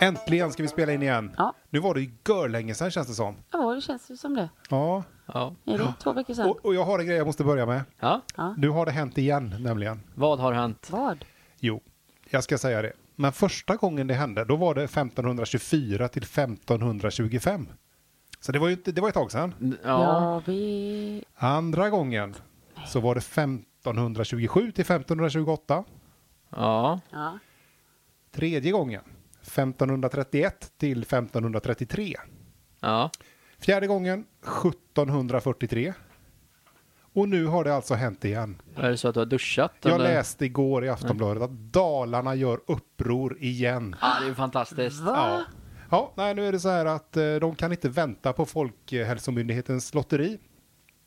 Äntligen ska vi spela in igen. Ja. Nu var det ju görlänge sedan känns det som. Ja, det känns ju som det. Ja. Ja. Är det två veckor sedan? Och, och jag har en grej jag måste börja med. ja. Ja. Nu har det hänt igen nämligen. Vad har hänt? Vad? Jo, jag ska säga det. Men första gången det hände, då var det 1524 till 1525. Så det var ju inte, det var ett tag sedan. Ja. Ja, vi... Andra gången så var det 1527 till 1528. Ja. Ja. Tredje gången 1531 till 1533. Ja. Fjärde gången 1743. Och nu har det alltså hänt igen. Är det så att du har duschat? Jag eller? läste igår i Aftonbladet att Dalarna gör uppror igen. Ja, det är ju fantastiskt. Ja. ja, nej nu är det så här att eh, de kan inte vänta på Folkhälsomyndighetens lotteri.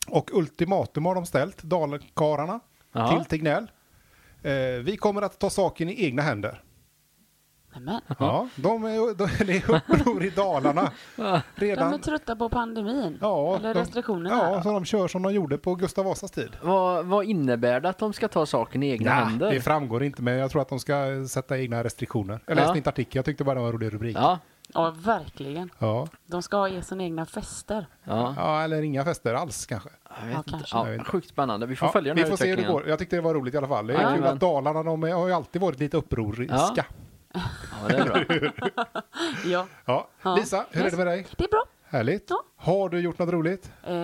Och ultimatum har de ställt, dalkarlarna, Ja. till Tegnell. Eh, vi kommer att ta saken i egna händer. Nämen. Ja, de är, de är i uppror i Dalarna. De är Redan, trötta på pandemin. ja, Eller de- restriktionerna. Ja, så de kör som de gjorde på Gustav Vasas tid. Vad, vad innebär det att de ska ta saken i egna Nej, händer? det framgår inte, men jag tror att de ska eh, sätta egna restriktioner. Jag läste Ja. inte artikeln, jag tyckte bara det var en rolig rubrik. ja. ja, verkligen. Ja. De ska ha sina egna fester. Ja. ja, eller inga fester alls kanske. Jag vet Ja, inte. kanske. Jag vet Ja, inte. sjukt spännande. Vi får följa vi den får här se hur det utvecklingen. går. Jag tyckte det var roligt i alla fall. Det är Ja, kul men- att Dalarna de är- har ju alltid varit lite upproriska. Ja. Ja. Ja, det är bra. Ja, Ja. Lisa, hur är det med dig? det är bra. Härligt. Ja. Har du gjort något roligt? Eh,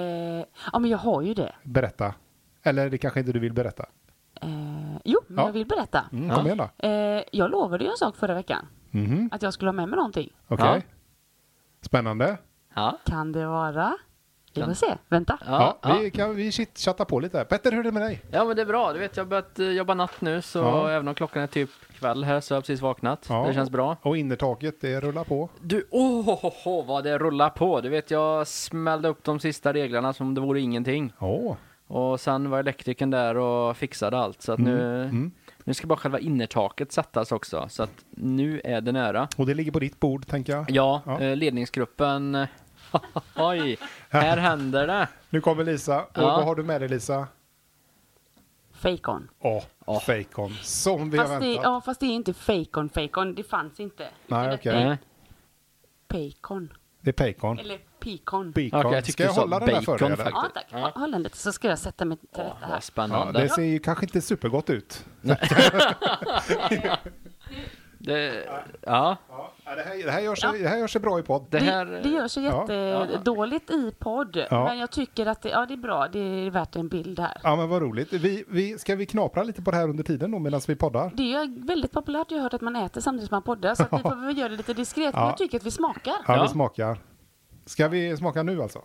ja, men jag har ju det. Berätta. Eller det kanske inte du vill berätta. Eh, jo, men Ja. jag vill berätta. Mm, Ja. Kom igen då. Eh, jag lovade ju en sak förra veckan. Mhm, Att jag skulle ha med mig någonting. Okej. Ja. Spännande. Ja. Kan det vara? Vi får Kan- se. Vänta. Ja, Ja, ja. Vi, kan, vi chitchattar på lite. här. Petter, hur är det med dig? ja, men det är bra. Du vet, jag har börjat eh, jobba natt nu, så Ja. även om klockan är typ kväll här så har jag precis vaknat. Ja. Det känns bra. Och innertaket, det rullar på. Du, åh, oh, vad det rullar på. Du vet, jag smällde upp de sista reglerna som om det vore ingenting. Åh. Och sen var elektrikern där och fixade allt. Så att nu, nu ska bara själva innertaket sättas också. Så att nu är det nära. Och det ligger på ditt bord, tänker jag. Ja, Ja. eh, ledningsgruppen. Oj, här händer det. Nu kommer Lisa. Och Ja. vad har du med dig, Lisa? Fejkon. Åh, Ja. fejkon. Som vi har Fast det, väntat. ja, fast det är inte fejkon, fejkon. Det fanns inte. Nej, Utan okej. det är Eh, Pejkon. Det är pejkon. Eller pikon. Bacon. Okej, jag Ska tyckte jag du sa hålla den där för dig? bacon eller? faktiskt. Ja, tack. Ja. Håll den lite så ska jag sätta mig till rätta här. Vad Ja, spännande. det ser ju kanske inte supergott ut. det, ja, Ja, det, här, det, här gör sig, det här gör sig bra i podd. det här... Det, det gör sig Ja. jättedåligt i podd, Ja. men jag tycker att det, ja, det är bra. Det är värt en bild här. Ja, men vad roligt. Vi, vi, ska vi knapra lite på det här under tiden då medan vi poddar? Det är ju väldigt populärt, jag har hört att man äter samtidigt som man poddar, så att vi får väl göra det lite diskret. Men Ja. jag tycker att vi smakar. Ja, vi Ja. smakar. Ska vi smaka nu alltså?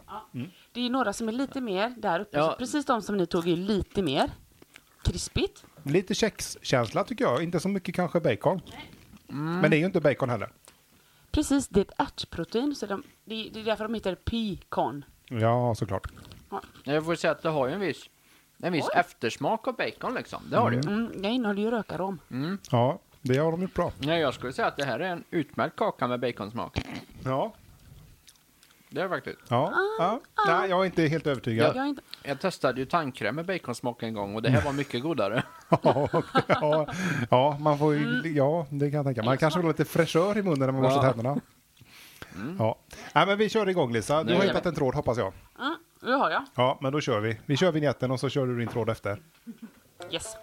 Det är ju några som är lite mer där uppe, Ja. så precis de som ni tog är ju lite mer krispigt. Lite kexkänsla tycker jag. Inte så mycket kanske bacon. Mm. Men det är ju inte bacon heller. Precis, det är ett ärtprotein, så de, det, är- det är därför de heter pikon. Ja, såklart. Jag får säga att det har ju en viss, en viss Oj. eftersmak av bacon liksom. Det har det ju. Mm, det innehåller ju rökarom. Ja, det har de gjort bra. Nej, jag skulle säga att det här är en utmärkt kaka med baconsmak. Ja. Det är det faktiskt. ja. ja. Ah, Nej, jag är inte helt övertygad. Jag är inte, Jag testade ju tandkräm med baconsmak en gång och det här var mycket godare. Ja, ja, ja, man får ju, ja, det kan jag tänka. Man kanske vill ha lite fräschör i munnen när man borstar Ja. tänderna. Ja. Nej, men vi kör igång Lisa. Du Nu har gör hittat vi. en tråd hoppas jag. mm, det har jag. Ja, men då kör vi. Vi kör vignetten och så kör du din tråd efter. Yes.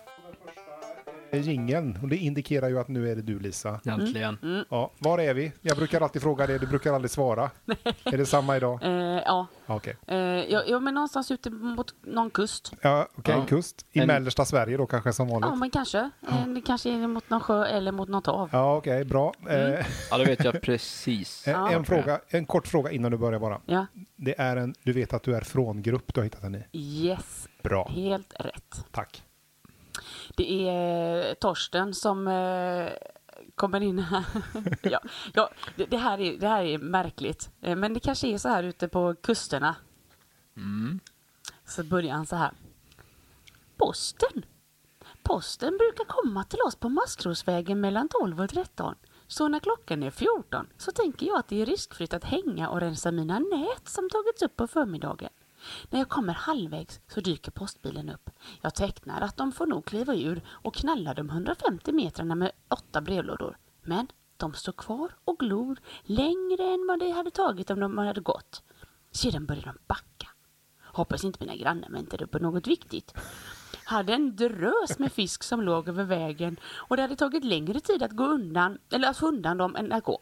Gingen, och det indikerar ju att nu är det du Lisa. Mm. Äntligen. Ja, var är vi? Jag brukar alltid fråga det, du brukar aldrig svara. Är det samma idag? Eh, ja. Ja, Okej. Eh, ja, ja, men någonstans ute mot någon kust. Ja, okej, Ja. kust. I En- mellersta Sverige då kanske som vanligt. Ja, men kanske. Eh, det kanske är mot någon sjö eller mot något hav. Ja, okej, bra. Eh, Ja, det vet jag precis. en, Ja. fråga, en kort fråga innan du börjar bara. Ja. Det är en, du vet att du är från grupp du har hittat den i. Yes, Bra, helt rätt. tack. Det är eh, Torsten som eh, kommer in här. ja, ja, det, det, här är, det här är märkligt, Eh, men det kanske är så här ute på kusterna. Mm. Så börjar han så här. Posten. Posten brukar komma till oss på Maskrosvägen mellan 12 och 13. Så när klockan är 14 så tänker jag att det är riskfritt att hänga och rensa mina nät som tagits upp på förmiddagen. När jag kommer halvvägs så dyker postbilen upp. Jag tecknar att de får nog kliva ur och knallar de 150 metrarna med åtta brevlådor. Men De står kvar och glor längre än vad det hade tagit om de hade gått. Sedan börjar de backa. Hoppas inte mina grannar väntade på något viktigt. Hade en drös med fisk som låg över vägen och det hade tagit längre tid att gå undan, eller att få undan dem än att gå.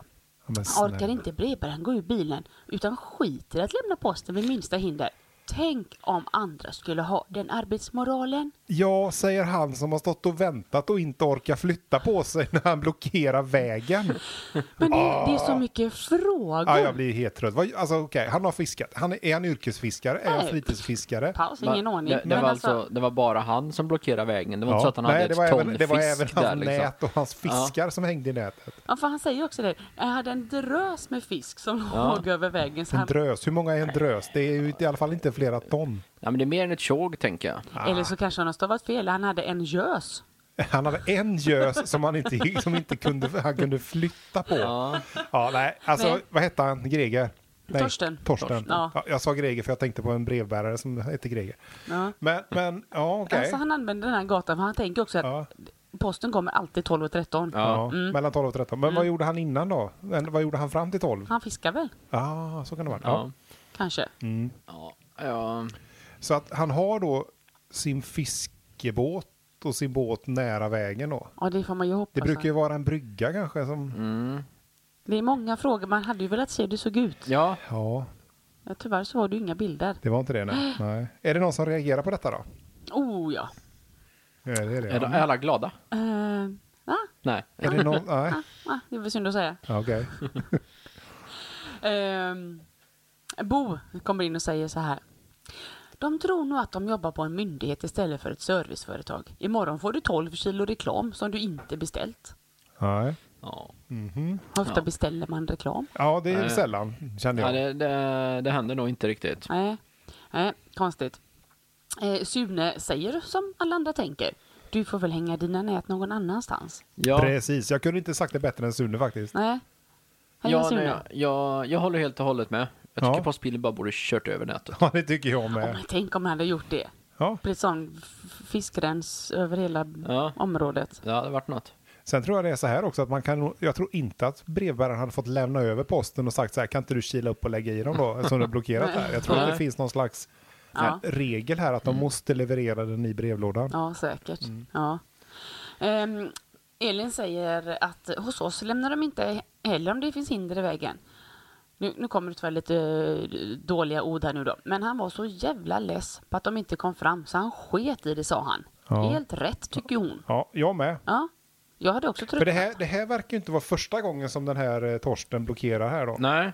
Ja, men Orkar snälla. inte brevbäraren gå ur bilen utan skiter i att lämna posten vid minsta hinder. Tänk om andra skulle ha den arbetsmoralen. Ja, säger han som har stått och väntat och inte orkar flytta på sig när han blockerar vägen. Men det, det är så mycket frågor. Ja, Ah. jag blir helt trött. Vad- Alltså, okej, Han har fiskat. Han är, är han yrkesfiskare? Är han Nej. fritidsfiskare? Paus, ingen aning. Det, det, men var alltså, alltså, det var bara han som blockerade vägen. Det var Ja. inte så att han Nej, hade det ett var ton även, det var fisk även där hans liksom. nät och hans fiskar som hängde i nätet. ja, för han säger också det. Jag hade en drös med fisk som Ja. låg över vägen. Så En han, drös. Hur många är en drös? Det är ju i alla fall inte flera ton. Ja, men det är mer än ett tjog, tänker jag. eller Ah. så kanske han har stavat fel. Han hade en gös. Han hade en gös som han inte, som inte kunde, han kunde flytta på. Ja. nej, alltså Nej. vad hette han? Greger? Nej, Torsten. Torsten. Torsten. Ja. Ja. jag sa Greger för jag tänkte på en brevbärare som hette Greger. Ja. Men, men ja okej. Alltså, han använder den här gatan för han tänker också att Ja. Mm. posten kommer alltid 12 och 13. Ja, Mellan 12 och 13. Men vad gjorde han innan då? Men Vad gjorde han fram till 12? Mm. Han fiskar väl, Ja, ah, så kan det vara. Ja. Ja. kanske. Mm. Ja. Ja. Så att han har då sin fiskebåt och sin båt nära vägen då. Ja, det får man ju Det hoppas. Alltså, brukar ju vara en brygga kanske som... det är många frågor. Man hade ju velat se hur det såg ut. ja. Ja, Ja, tyvärr så var det ju inga bilder. det var inte det nej. nej. Är det någon som reagerar på detta då? Oh ja. Ja, det är det. Är, de, är alla glada? Eh, va? Nej. Är det någon? Nej. Ah, det var synd att säga. Ja, Okej. Ehm, Bo kommer in och säger så här. De tror nog att de jobbar på en myndighet istället för ett serviceföretag. Imorgon får du 12 kilo reklam som du inte beställt. Nej. Ja. Hur ofta Ja. beställer man reklam? Ja, det är Nej. sällan känner Ja, jag. det, det, det händer nog inte riktigt. Nej, nej konstigt. Eh, Sune säger som alla andra tänker. Du får väl hänga dina nät någon annanstans. Ja, Precis, jag kunde inte sagt det bättre än Sune faktiskt. Nej. Hej ja, Sune. nej, jag, jag, jag håller helt och hållet med. Jag Ja. tycker Postbilen bara borde kört över nätet. Ja, det tycker jag Åh, med. men tänk om han hade gjort det. Ja. Blivit sån f- fiskrens över hela Ja. området. Det hade varit något. Sen tror jag det är så här också att man kan, nog- jag tror inte att brevbäraren hade fått lämna över posten och sagt så här, kan inte du kila upp och lägga i dem då, eftersom det är blockerat här. Jag tror att det Nej. Mm. finns någon slags Ja. regel här att de måste leverera den i brevlådan. Ja, säkert. Mm. Ja. Ehm, Elin säger att hos oss lämnar de inte heller om det finns hinder i vägen. Nu, nu kommer det tyvärr lite eh, dåliga ord här nu då. Men han var så jävla less på att de inte kom fram så han sket i det sa han. Ja. Helt rätt tycker hon. Ja, jag med. Ja. Jag hade också För trott det här, det här verkar ju inte vara första gången som den här eh, Torsten blockerar här då. Nej.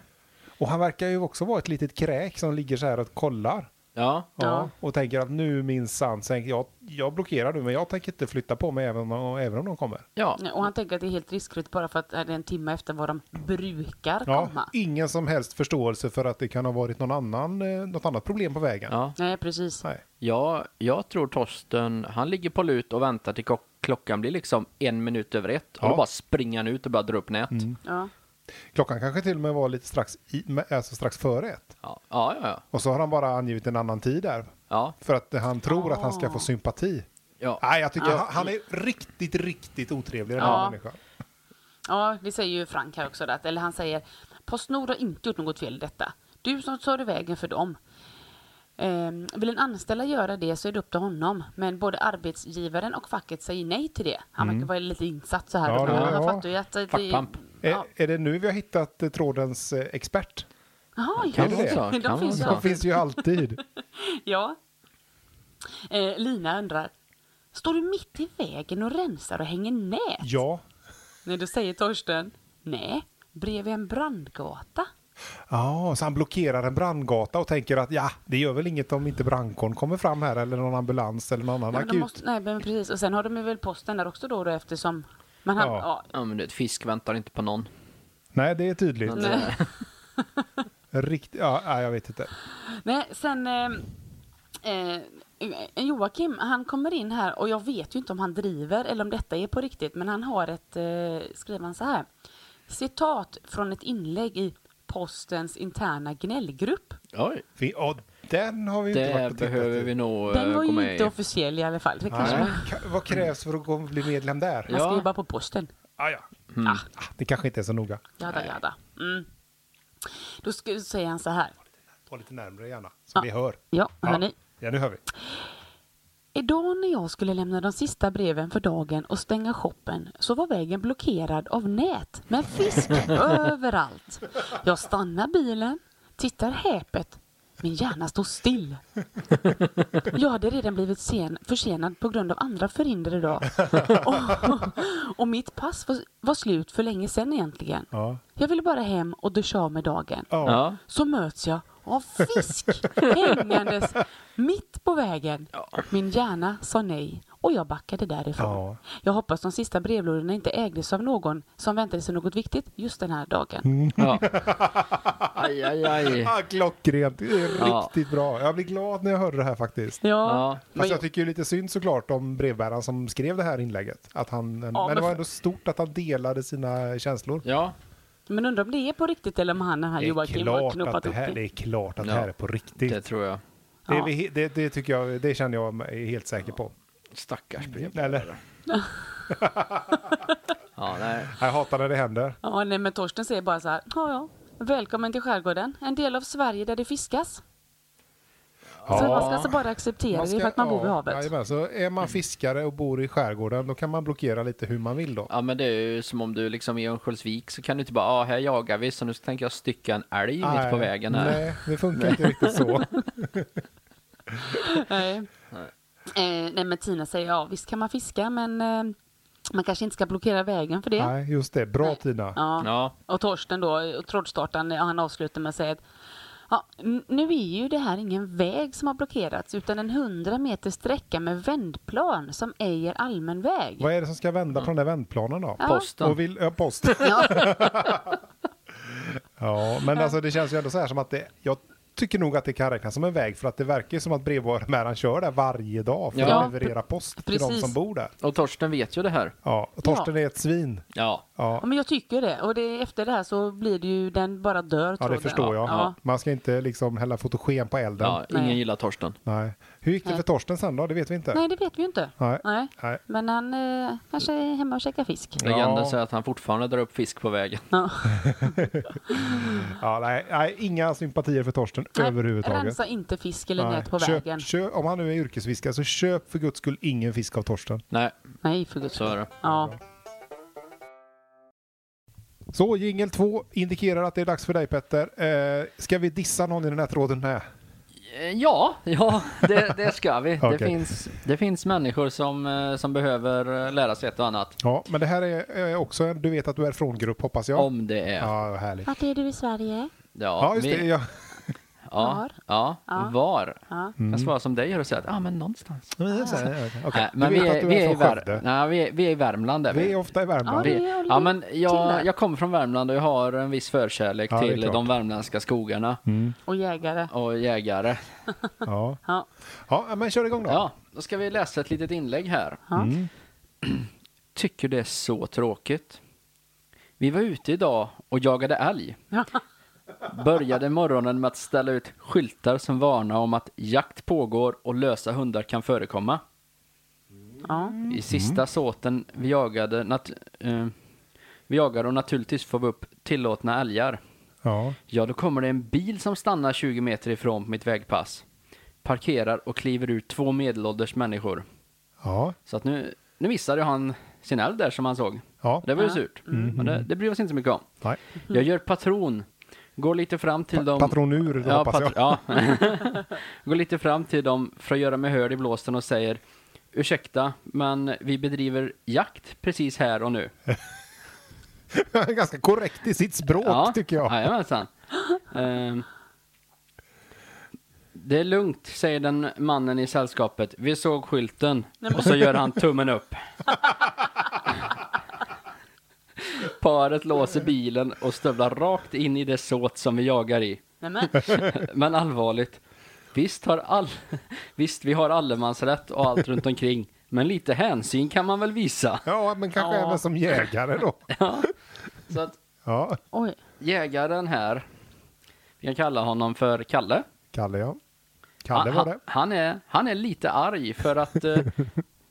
Och han verkar ju också vara ett litet kräk som ligger så här och kollar. Ja. Ja. Ja. Och tänker att nu minsann, tänker jag, jag blockerar nu men jag tänker inte flytta på mig även om, även om de kommer. Ja. och han tänker att det är helt riskfritt bara för att det är en timme efter vad de brukar Ja, komma. ingen som helst förståelse för att det kan ha varit någon annan, eh, något annat problem på vägen. ja. Nej, precis. Nej. Ja, jag tror Torsten, han ligger på lut och väntar till klock- klockan blir liksom en minut över ett. Ja. Och då bara springer han ut och börjar dra upp nät. Ja. Klockan kanske till och med var lite strax, i, med- alltså strax före ett. Ja, ja, ja. Och så har han bara angivit en annan tid där. Ja, För att han tror att han ska Ah. få sympati. ja. ja. Nej, jag tycker han, han är riktigt, riktigt otrevlig den här Ja. människan. Ja, det säger ju Frank här också. Att, eller han säger Postnord har inte gjort något fel i detta. Du som tar i vägen för dem. Ehm, vill en anställare göra det så är det upp till honom. Men både arbetsgivaren och facket säger nej till det. Han verkar vara lite insatt så här. Mm. Ja, då, men det- Eh, han ja. fattar ju att det... Fackpamp. Ja. Är, är det nu vi har hittat eh, trådens eh, expert? Jaha, Kan det ja. det? De Kan finns ju vara De Ja. finns ju alltid. Ja. Eh, Lina undrar. Står du mitt i vägen och rensar och hänger nät? Ja. Nej, då säger Torsten. Nej, bredvid en brandgata. Ja, så han blockerar en brandgata och tänker att ja, det gör väl inget om inte brandkåren kommer fram här eller någon ambulans eller någon annan Nej, men de akut. måste, nej, men precis. Och sen har de ju väl posten där också då, då eftersom man har, Ja. ja. men du vet, fisk väntar inte på någon. Nej, det är tydligt. Men, nej. eh, Rikt... Ja, nej, jag vet inte. nej, sen eh, eh, Joakim, han kommer in här och jag vet ju inte om han driver eller om detta är på riktigt, men han har ett, eh, skriver han så här, citat från ett inlägg i Postens interna gnällgrupp. Oj, Vi, ja, den har vi ju inte varit det och tittat behöver i. vi nog eh, Den var gå ju med inte i. officiell i alla fall. Det kanske Nej. man, Ka- Vad krävs för att gå och bli medlem där? man ska Ja. ju bara på posten. Ah, ja. Mm. Ah, Det kanske inte är så noga. jada, jada. Mm. Då ska, säger han så här. Ta lite närmre gärna, så Ja. vi hör. Ah. Ja, hör ni? Ja, nu hör vi. Idag när jag skulle lämna de sista breven för dagen och stänga shoppen så var vägen blockerad av nät med fisk överallt. Jag stannar bilen, tittar häpet. Min hjärna står still. Jag hade redan blivit sen, försenad på grund av andra förhinder idag. Och, och mitt pass var, var slut för länge sedan egentligen. Ja. Jag ville bara hem och duscha av med dagen Ja. Ja. så möts jag av fisk hängandes mitt på vägen. Min hjärna sa nej och jag backade därifrån. Ja. Jag hoppas de sista brevlådorna inte ägdes av någon som väntade sig något viktigt just den här dagen. Mm. ja. Aj, aj, aj. Ah, klockrent, det är Ja. riktigt bra. Jag blir glad när jag hörde det här faktiskt. Ja, Ja. men, Fast jag tycker ju lite synd såklart om brevbäraren som skrev det här inlägget. Att han, men det men var för- ändå stort att han delade sina känslor. Ja. men undrar om det är på riktigt eller om han den här Det är Joakim har klart att knoppat det upp här, det det. är, klart att det Ja. här är på riktigt. Det Det, tror jag. är Ja. vi, he- det, det tycker jag, det känner jag mig helt säker på. Stackars brev. Eller? Ja, nej. Jag hatar när det händer. Ja, nej, men Torsten säger bara så här. Ja, ja. Välkommen till skärgården, en del av Sverige där det fiskas. Så man ska alltså bara acceptera det för att man bor vid havet. Jajamän, så är man fiskare och bor i skärgården då kan man blockera lite hur man vill då. Ja men det är ju som om du liksom är i Örnsköldsvik så kan du inte bara, ah, här jagar vi så nu tänker jag stycka en älg mitt på Nej, vägen här. Nej, det funkar inte riktigt så. Nej. Eh, nej men Tina säger ja visst kan man fiska men eh, man kanske inte ska blockera vägen för det. Nej, just det. Bra Tina. Ja. Ja. Och Torsten då, eh, trådstartaren, eh, han avslutar med att säga att ja, n- nu är ju det här ingen väg som har blockerats utan en 100 meter sträcka med vändplan som ej är allmän väg. Vad är det som ska vända på den där vändplanen då? Ja. Posten. Och vill, ja, post. Ja. Ja, men alltså det känns ju ändå så här som att det, jag tycker nog att det kan räknas som en väg för att det verkar ju som att brevbäraren kör där varje dag för Ja, att leverera post till de precis. som bor där. Och Torsten vet ju det här. Ja, och Torsten är ett svin. Ja. Ja, Ja, men jag tycker det. Och det, efter det här så blir det ju, den bara dör ja det tråden. förstår jag. Ja. Man ska inte liksom hälla fotogen på elden. ja ingen Nej. gillar Torsten. Nej. Hur gick det för Torsten sen då? Det vet vi inte. Nej, det vet vi ju inte. Nej. Nej. Men han eh, kanske är hemma och käkar fisk. Ja. Legenden säger att han fortfarande drar upp fisk på vägen. Ja. Ja, nej, nej, inga sympatier för Torsten Nej, överhuvudtaget. Rensa inte fisk eller Nej. nät på köp, vägen. Köp, om han nu är yrkesfiskare så köp för guds skull ingen fisk av Torsten. Nej, Nej, för guds så är det. Ja. Så jingel 2 indikerar att det är dags för dig Petter. Eh, ska vi dissa någon i den här tråden med? Eh, Ja, ja det, det ska vi. Okej. det, finns, det finns människor som, eh, som behöver eh, lära sig ett och annat. Ja, men det här är eh, också en du vet att du är från grupp hoppas jag. Om det är. Ja, Ja, vad härligt. Vart är du i Sverige? Ja, just vi- det. Ja. Ja, Var? ja, Ja. var. Ja. Jag svarar som dig gör och säger att ah, men någonstans. Mm. Okej, Nej, men du vi vet är, att du vi, är, är i från Vär... Skövde. Nej, vi, är, vi är i Värmland. Där Vi är ofta i Värmland. Ja, Vi- det är ju Ja, men till jag, där. jag kommer från Värmland och jag har en viss förkärlek Ja, det är till klart. Mm. de värmländska skogarna Och jägare. och jägare. Ja. Ja. ja, men kör igång då. Ja, då ska vi läsa ett litet inlägg här. Ja. Mm. Tycker det är så tråkigt. Vi var ute idag och jagade älg. Ja. Började morgonen med att ställa ut skyltar som varnar om att jakt pågår och lösa hundar kan förekomma. Ja. I sista såten vi jagade, nat- eh, vi jagade och naturligtvis får vi upp tillåtna älgar. Ja. Ja, då kommer det en bil som stannar 20 meter ifrån på mitt vägpass. Parkerar och kliver ut två medelålders människor. Ja. Så att nu, nu missade han sin älg där som han såg. Ja. Mm. Det var ju surt. Men det, det bryr vi oss inte så mycket om. Nej. Jag gör patron. Går lite fram till dem. Patronur då hoppas jag. patr- ja. Går lite fram till dem för att göra mig hörd i blåsten och säger Ursäkta, men vi bedriver jakt precis här och nu. Ganska korrekt i sitt språk tycker jag. Jajamensan. Ehm, det är lugnt, säger den mannen i sällskapet. Vi såg skylten. Och så gör han tummen upp. Paret låser bilen och stövlar rakt in i det såt som vi jagar i. Nej, men. Men allvarligt. Visst, har all... Visst, vi har allemansrätt och allt runt omkring. Men lite hänsyn kan man väl visa. Ja, men kanske Ja. även som jägare då. Så att Ja, Oj. jägaren här, vi kan kalla honom för Kalle. Kalle ja. Kalle han, var det. Han är, han är lite arg för att eh,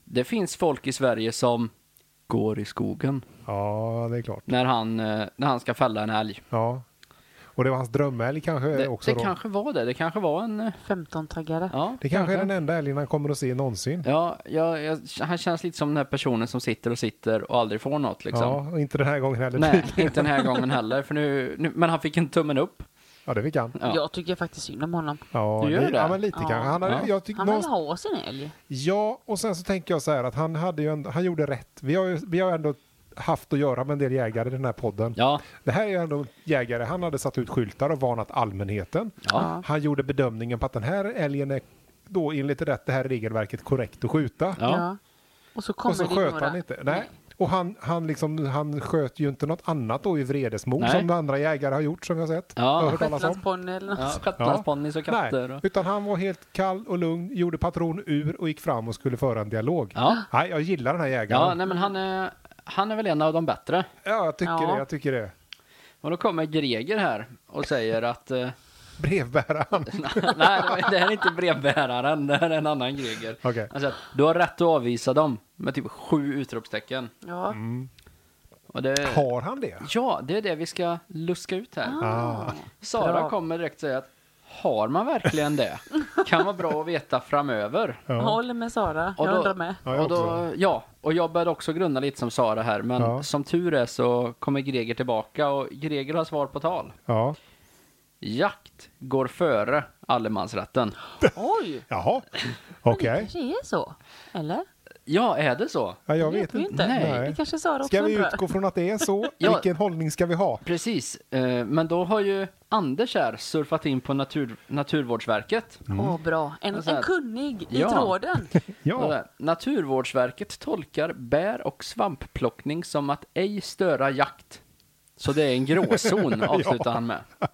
det finns folk i Sverige som går i skogen. Ja, det är klart. när han, eh, när han ska fälla en älg. Ja. Och det var hans drömälg kanske Det, också det då. kanske var det. Det kanske var en... eh, 15-taggare. Ja, det kanske är den enda älgen han kommer att se någonsin. Ja, jag, jag, han känns lite som den här personen som sitter och sitter och aldrig får något liksom. Ja, och inte den här gången heller. Nej, inte den här gången heller. För nu, nu, men han fick en tummen upp. Ja, det fick han. Ja. Jag tycker faktiskt synd om honom. Ja, Du gör li- det? Ja, men lite Ja. kanske. Han hade, Ja. jag tyck, Han vill någonstans- ha sin älg. Ja, och sen så tänker jag så här att han, hade ju ändå, han gjorde rätt. Vi har ju vi har ändå haft att göra med en del jägare i den här podden. Ja, Det här är ju ändå jägare. Han hade satt ut skyltar och varnat allmänheten. ja, Han gjorde bedömningen på att den här älgen är då enligt rätt, det här regelverket korrekt att skjuta. Ja. Och så kommer och så det sköt några. han inte. Nej. Och han, han, liksom, han sköt ju inte något annat då i vredesmod Nej. som andra jägare har gjort som jag har sett. Ja. Jag har hört talas om. Shetlandsponny eller något. ja. Shetlandsponnys och katter. Nej, Och, utan han var helt kall och lugn, gjorde patron ur och gick fram och skulle föra en dialog. ja, Nej, jag gillar den här jägaren. ja nej, men han är, han är väl en av de bättre. Ja, jag tycker Ja. det. Jag tycker det. Och då kommer Greger här och säger att eh, Brevbäraren. nej, det är inte brevbäraren, det här är en annan Greger. Okej. Han säger att du har rätt att avvisa dem med typ sju utropstecken. Ja. Mm, Och det, Har han det? ja, det är det vi ska luska ut här. Ah. Sara Bra. kommer direkt säga att har man verkligen det? Kan vara bra att veta framöver. Jag Ja. håller med Sara. Och jag då- undrar med. Ja, jag och då, också. ja, och jag började också grunna lite som Sara här, men Ja. som tur är så kommer Greger tillbaka och Greger har svar på tal. ja. Jakt går före allemansrätten. Oj! Jaha, Det okej. kanske är så. Eller? Ja, är det så? Ja, jag Det vet vi inte. inte. Nej. Det kanske Sara också Ska vi undrar. utgå från att det är så? Ja. Vilken hållning ska vi ha? Precis, eh, men då har ju Anders här surfat in på natur, Naturvårdsverket. Åh, bra. En, Och så här- en kunnig i Ja. tråden. Och Ja, där, Naturvårdsverket tolkar bär och svampplockning som att ej störa jakt. Så det är en gråzon, avslutar han med. Ja,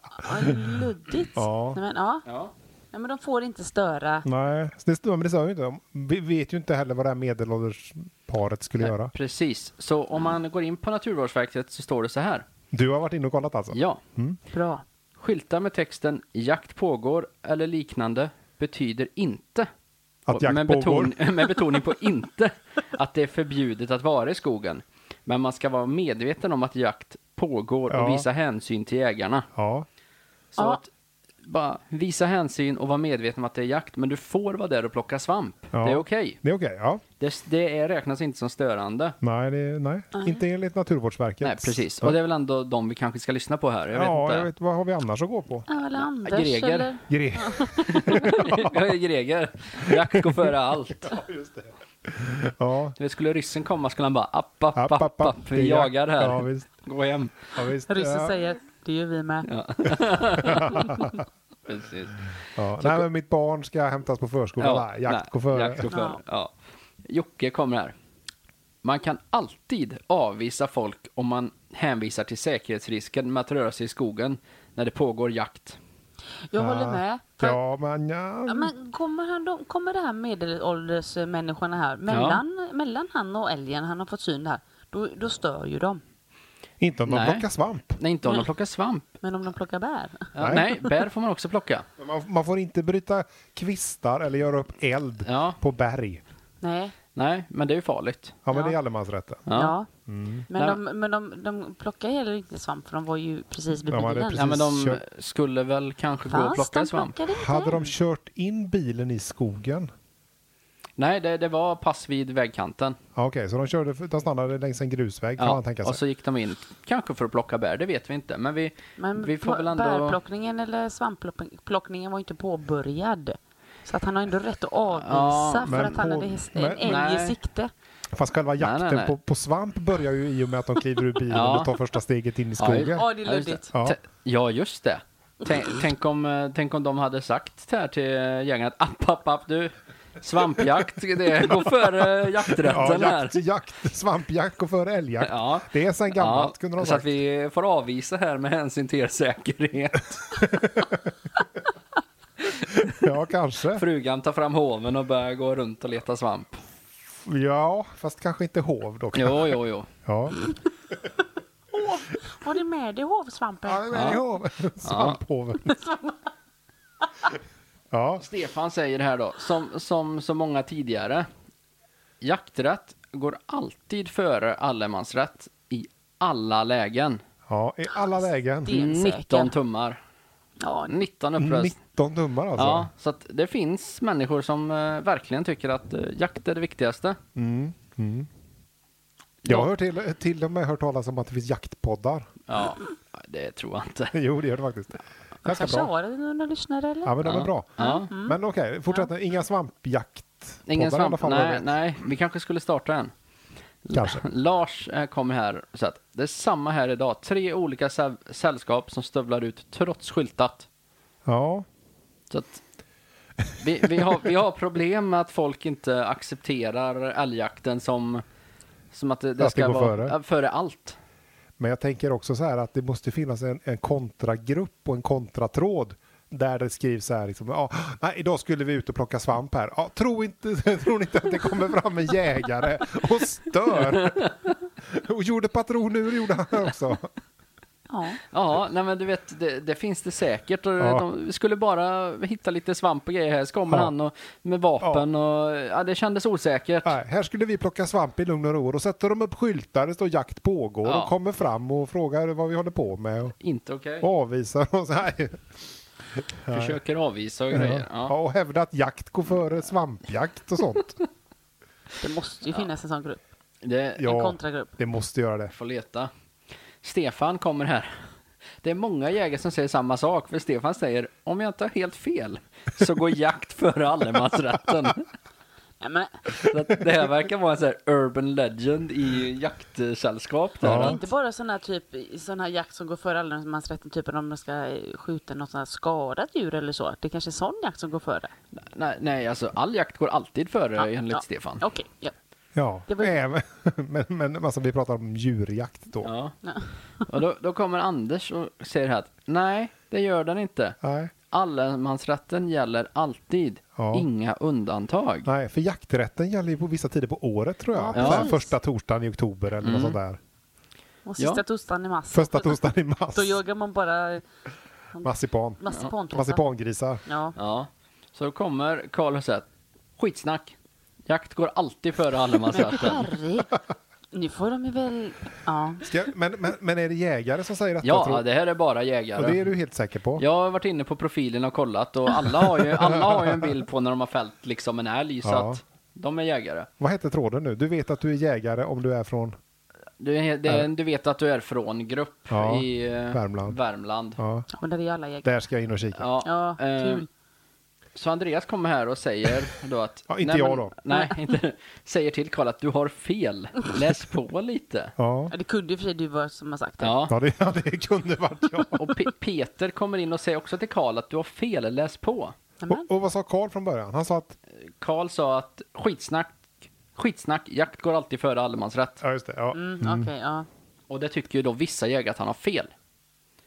luddigt. Ja. Nej, men, ja. Ja. Nej, men de får inte störa. nej. Så Det, men det sa vi inte. om. Vi vet ju inte heller vad det här medelåldersparet skulle göra. Precis, så om man går in på Naturvårdsverket så står det så här. Du har varit inne och kollat alltså? Ja, Bra. skyltar med texten jakt pågår eller liknande betyder inte Att och- jakt med, pågår? med betoning på inte att det är förbjudet att vara i skogen. Men man ska vara medveten om att jakt pågår och Ja. visa hänsyn till jägarna. Ja. Så Ja. att bara visa hänsyn och vara medveten om att det är jakt, men du får vara där och plocka svamp. Ja. Det är okej. Det är okej, ja. Det, det är, räknas inte som störande. Nej, det, nej. inte enligt Naturvårdsverket. Nej, precis. Och det är väl ändå de vi kanske ska lyssna på här. Jag vet ja, inte. jag vet, vad har vi annars att gå på? Ja, Eller Anders Greger. eller? Gre- jag är Greger. Jakt går före allt. Ja. Du vet, skulle ryssen komma skulle han bara app, app, app, App, app, app. Det är vi jagar jakt. här. Ja, visst. Gå hem. Ja, visst. Ryssen Ja. säger, det gör vi med. Precis. Ja. Nej, men mitt barn ska hämtas på förskolan. nej, jakt går före. Jakt går före. Ja. Jocke kommer här. Man kan alltid avvisa folk om man hänvisar till säkerhetsrisken med att röra sig i skogen när det pågår jakt. Jag Ja. håller med. För, ja. Ja, men ja. men kommer, han, de, kommer det här medelåldersmänniskorna här, mellan, mellan han och älgen han har fått syn här, då, då stör ju de. Inte om de Nej. plockar svamp. Nej, inte om de plockar svamp. Men om de plockar bär? Ja, nej. Nej. bär får man också plocka. Men Man, man får inte bryta kvistar eller göra upp eld Ja. på berg. Nej. Nej, men det är ju farligt. Ja, men Ja. det är allemansrätten. Ja. Ja. Ja. Mm. Men, de, men de, de plockar heller inte svamp för de var ju precis vid De hade bilen. precis- men de Kör. skulle väl kanske gå och Fast plocka de svamp. plockade inte. Hade de kört in bilen i skogen? Nej, det, det var pass vid vägkanten. Ja, Okej, så de, körde, de stannade längs en grusväg kan man tänka sig. och så gick de in, kanske för att plocka bär, det vet vi inte. Men vi, Men vi får pl- väl ändå... bärplockningen eller svampplockningen var ju inte påbörjad. Så att han har ändå rätt att avvisa Ja, för men att han på- hade häst, en men- älg i Nej. sikte. Fast själva jakten nej, nej. På, på svamp börjar ju i och med att de kliver ur bilen Ja. och tar första steget in i Ja, skogen. Ja, det är Ja, just luddigt. Ja. Tä- Ja, just det. Tänk, tänk, om, eh, tänk om de hade sagt här till jägarna att app, app, app, du, svampjakt, det går före Ja, jakträtten här. jakt, jakt, svampjakt och före älgjakt. Ja. Det är sen gammalt kunde de så att sagt. vi får avvisa här med hänsyn till er säkerhet. Ja, kanske. Frugan tar fram hoven och börjar gå runt och leta svamp. Ja, fast kanske inte hov då. Jo, jo, jo. Ja. Har ni med dig hovsvampen? Ja, men ja. Svamphoven. Ja, Stefan säger här då, som, som så många tidigare, jakträtt går alltid före allemansrätt i alla lägen. Ja, i alla lägen. Det är en säker. 19 tummar. Ja, 19 uppröst. 19 dummar alltså. Ja, så att det finns människor som eh, verkligen tycker att eh, jakt är det viktigaste. Mm. Mm. Jag har hört till, till och med hört talas om att det finns jaktpoddar. Ja, det tror jag inte. Jo, det gör det faktiskt. Ganska kanske bra. har det några lyssnare eller? Ja, men de är Ja. bra. Ja. Men okej, fortsätt. Inga svampjaktpoddar Ingen i alla svamp. fall. vad jag Nej, vet. nej, vi kanske skulle starta en. Kanske. Lars eh, kommer här och säger att det är samma här idag. Tre olika sä- sällskap som stövlar ut trots skyltat. Ja. Så att vi, vi, har, vi har problem med att folk inte accepterar älgjakten som, som att det, det Att det ska går vara före. ja, före allt. Men jag tänker också så här att det måste finnas en, en kontragrupp och en kontratråd där det skrivs så här, liksom, ja, nej, idag skulle vi ut och plocka svamp här. Ja, tro inte, tror ni inte att det kommer fram en jägare och stör? Och gjorde patronur gjorde han också. Ja. Ja, nej men du vet, det, det finns det säkert. Och Ja. De skulle bara hitta lite svamp och grejer här, så kommer Ja. han och, med vapen och ja, det kändes osäkert. Nej, här skulle vi plocka svamp i lugn och ro och då sätter de upp skyltar, det står jakt pågår Ja. och kommer fram och frågar vad vi håller på med och, Inte okej. och avvisar och så här. Försöker avvisa och Ja. grejer. Ja. och hävdar att jakt går före svampjakt och sånt. Det måste ju finnas en sån grupp. Det, En Ja, kontragrupp. det måste göra det. får leta. Stefan kommer här. Det är många jägare som säger samma sak, för Stefan säger om jag inte har helt fel så går jakt före allemansrätten. Nej, men, Så att det här verkar vara en sån här urban legend i jaktsällskap. Där. Ja. Ja. Inte bara sån här, typ, sån här jakt som går före allemansrätten, typ om man ska eh, skjuta något sånt här skadat djur eller så. Det är kanske är sån jakt som går före. Nej, nej, alltså all jakt går alltid före Ja, enligt ja. Stefan. Okej, ja. Ja, Det var- även, men, men alltså, vi pratar om djurjakt då. Ja. Ja. Och då, då kommer Anders och säger här att nej, det gör den inte. Nej, Allemansrätten gäller alltid, Ja. inga undantag. nej, för jakträtten gäller ju på vissa tider på året tror jag. Ja, Så här, precis. första torsdagen i oktober eller något sånt där. Och sista Ja. tosdagen i mars. Första torsdagen i mars. Då jagar man bara Marsipan. massipanträffar. Marsipangrisar. Ja. Ja, så kommer Karl och säger att skitsnack. Jakt går alltid före allemansrätten. Harry, nu får de ju väl... Ja. Ska, men, men, men är det jägare som säger detta? Ja, tror- det här är bara Och det är jägare. du helt säker på? Jag har varit inne på profilen och kollat och alla har ju, alla har ju en bild på när de har fällt liksom en älg så Ja. att de är jägare. Vad heter tråden nu? Du vet att du är jägare om du är från... Du, är- det, är- du vet att du är från grupp Ja, i eh, Värmland. Värmland. Ja. Ja, Men det är ju alla jägare. där ska jag in och kika. Ja, eh, kul. Så Andreas kommer här och säger då att... Ja, inte nej, jag men- då. Nej, inte, säger till Karl att du har fel. Läs på lite. Ja, Ja, det kunde ju för sig du vara som har sagt det. Ja. ja, det, ja det kunde varit jag. Och Pe- Peter kommer in och säger också till Karl att du har fel, läs på. Amen. Och, och vad sa Karl från början? Han sa att... Karl sa att skitsnack, skitsnack, jakt går alltid före allemansrätt. Ja, just det. Ja. Mm, Okej, ja. Och det tycker ju då vissa jägare att han har fel.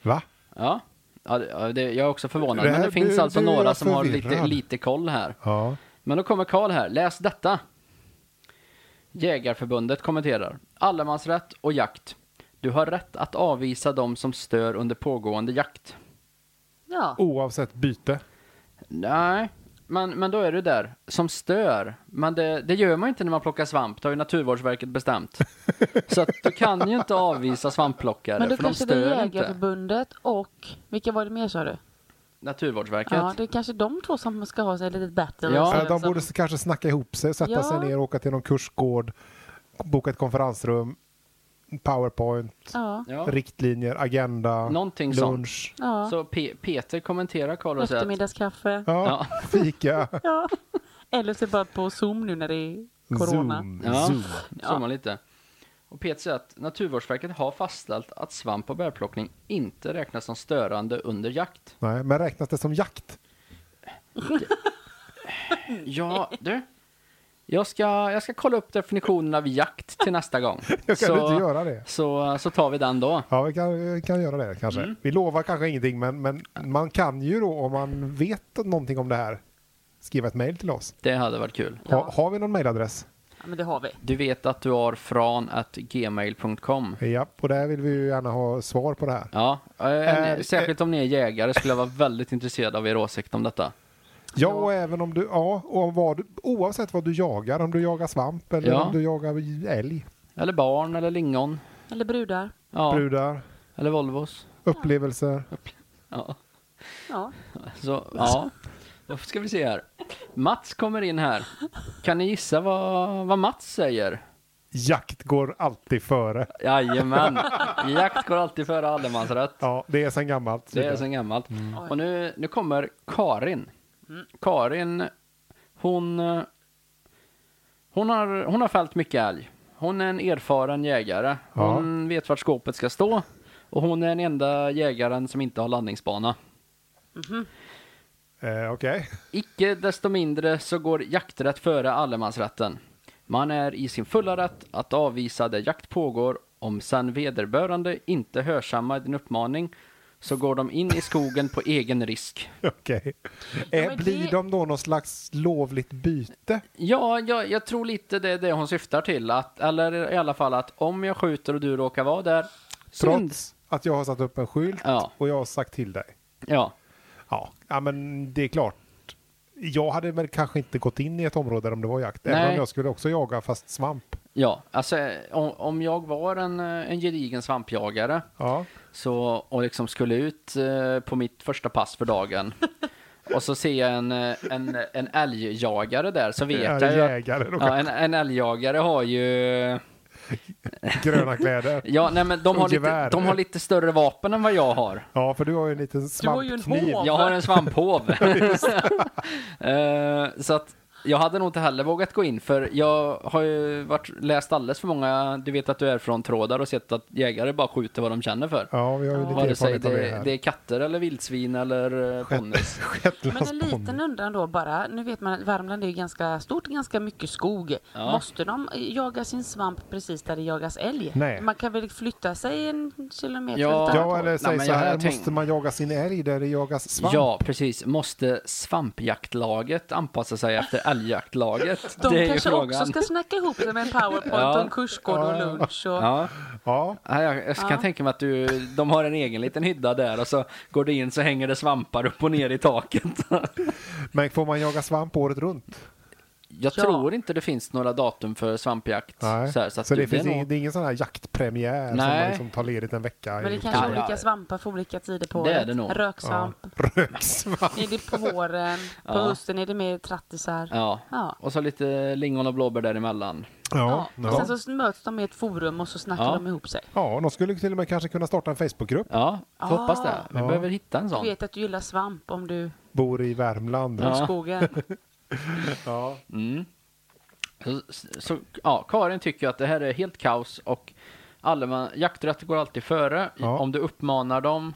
Va? Ja, ja det- ja, det, jag är också förvånad. Det men här det finns blir- alltså blir några jag som har lite, förvirrad. lite koll här. Ja. Men då kommer Karl här, läs detta. Jägarförbundet kommenterar. Allemansrätt och jakt. Du har rätt att avvisa dem som stör under pågående jakt. Ja, Oavsett byte. Nej, men, men då är du där som stör. Men det, det gör man ju inte när man plockar svamp, det har ju Naturvårdsverket bestämt. Så att du kan ju inte avvisa svampplockare, men då för de kanske det är stör inte. Jägarförbundet och... Vilka var det mer sa du? Naturvårdsverket. Ja, det är kanske de två som ska ha sig alltså. ett litet battle. Ja. och Ja, se vem de som- borde kanske snacka ihop sig, sätta Ja. sig ner och åka till någon kursgård, boka ett konferensrum, powerpoint, Ja. Ja. riktlinjer, agenda, Någonting lunch, ja. Så Pe- Peter kommenterar Karl och säger att Eftermiddagskaffe. Ja. Ja, fika, Eller så bara på Zoom nu när det är corona. zoom, Ja. zoom. zooma lite. Och Peter säger att Naturvårdsverket har fastställt att svamp och bärplockning inte räknas som störande under jakt. Nej, men räknas det som jakt? Ja, du. Jag ska, jag ska kolla upp definitionen av jakt till nästa gång. Jag kan inte göra det. Så, så tar vi den då. Ja, vi kan, vi kan göra det kanske. Mm. Vi lovar kanske ingenting, men, men man kan ju då om man vet någonting om det här skriva ett mejl till oss. Det hade varit kul. Ha, har vi någon mejladress? Ja, men det har vi. Du vet att du har från att gmail.com. Ja, och där vill vi ju gärna ha svar på det här. Ja, eh, Eh, särskilt om ni är jägare skulle jag vara väldigt intresserad av er åsikt om detta. Ja, och även om du, ja, och om vad, oavsett vad du jagar, om du jagar svamp eller Ja. om du jagar älg. Eller barn eller lingon. Eller brudar. Ja, brudar, eller Volvos. upplevelser. Ja. Ja. Så, ja. Då ska vi se här. Mats kommer in här. Kan ni gissa vad, vad Mats säger? Jakt går alltid före. Jajamän. Jakt går alltid före allemansrätt. Ja, Mm. det är sen gammalt. Det är sen gammalt. Oj. Och nu, nu kommer Karin. Karin, hon, eh, hon, har, hon har fällt mycket älg. Hon är en erfaren jägare. Ja. Hon vet vart skåpet ska stå. Och hon är den enda jägaren som inte har landningsbana. Eh, Okej. Icke desto mindre så går jakträtt före allemansrätten. Man är i sin fulla rätt att avvisa där jakt pågår om sen vederbörande inte hörsammar din uppmaning så går de in i skogen på egen risk. Okej. men Eh, blir det- de då någon slags lovligt byte? Ja, jag, jag tror lite det är det hon syftar till. Att, eller i alla fall att om jag skjuter och du råkar vara där. synd. Trots att jag har satt upp en skylt Ja. och jag har sagt till dig. Ja. Ja, ja men det är klart. Jag hade väl kanske inte gått in i ett område om det var jakt. Nej. Även om jag skulle också jaga fast svamp. Ja, alltså eh, om, om jag var en, eh, en gedigen svampjagare Ja. så, och liksom skulle ut eh, på mitt första pass för dagen och så ser jag en, eh, en, en älgjagare där så vet Ja, jag ju att- jägare, då. ja, en, en älgjagare har ju Gröna kläder. Ja, nej men de Och har, lite, gevär. de har lite större vapen än vad jag har. Ja, för du har ju en liten Du har ju en svampkniv. håv. Jag har en svamphåv. Eh, så att jag hade nog inte heller vågat gå in för jag har ju varit, läst alldeles för många, du vet att du är från trådar och sett att jägare bara skjuter vad de känner för. Ja, vi har ju lite Vare sig erfarenhet av det det, här. det är katter eller vildsvin eller eh, ponnys. Men Shetlands en ponny. liten undran då bara. Nu vet man att Värmland är ju ganska stort, ganska mycket skog. Ja. Måste de jaga sin svamp precis där det jagas älg? Nej. Man kan väl flytta sig en kilometer Ja. åt ett annat Ja, eller Nej, säg men så jag- här, jag tänk- måste man jaga sin älg där det jagas svamp? Ja, precis. Måste svampjaktlaget anpassa sig efter älgjaktlaget? De det är ju kanske frågan. också ska snacka ihop det med en powerpoint Ja. om kursgård och lunch. Och... Ja, Ja, Ja, jag jag kan Ja. tänka mig att du, de har en egen liten hydda där och så går du in så hänger det svampar upp och ner i taket. men får man jaga svamp året runt? Jag Ja. tror inte det finns några datum för svampjakt. Nej. Så, Så, här, så, att du, det, finns är ingen, nog- det är ingen sån här jaktpremiär som Nej. man liksom tar ledigt en vecka Men det i kanske Ja, är ja. olika svampar för olika tider på Det är året. det nog. Röksvamp. röksvamp. Är det på våren? På Ja. hösten är det mer trattisar? Ja. Ja. och så lite lingon och blåbär däremellan. Ja, Och ja. Sen så möts de i ett forum och så snackar Ja. de ihop sig. ja, de skulle till och med kanske kunna starta en Facebookgrupp. Ja, Ah. hoppas det. Vi Ja. behöver hitta en Du sån. vet att du gillar svamp om du Bor i Värmland. om Ja. skogen. Ja. Mm. Så, så, ja, Karin tycker att det här är helt kaos och alleman, jakträtt går alltid före. Ja. Om du uppmanar dem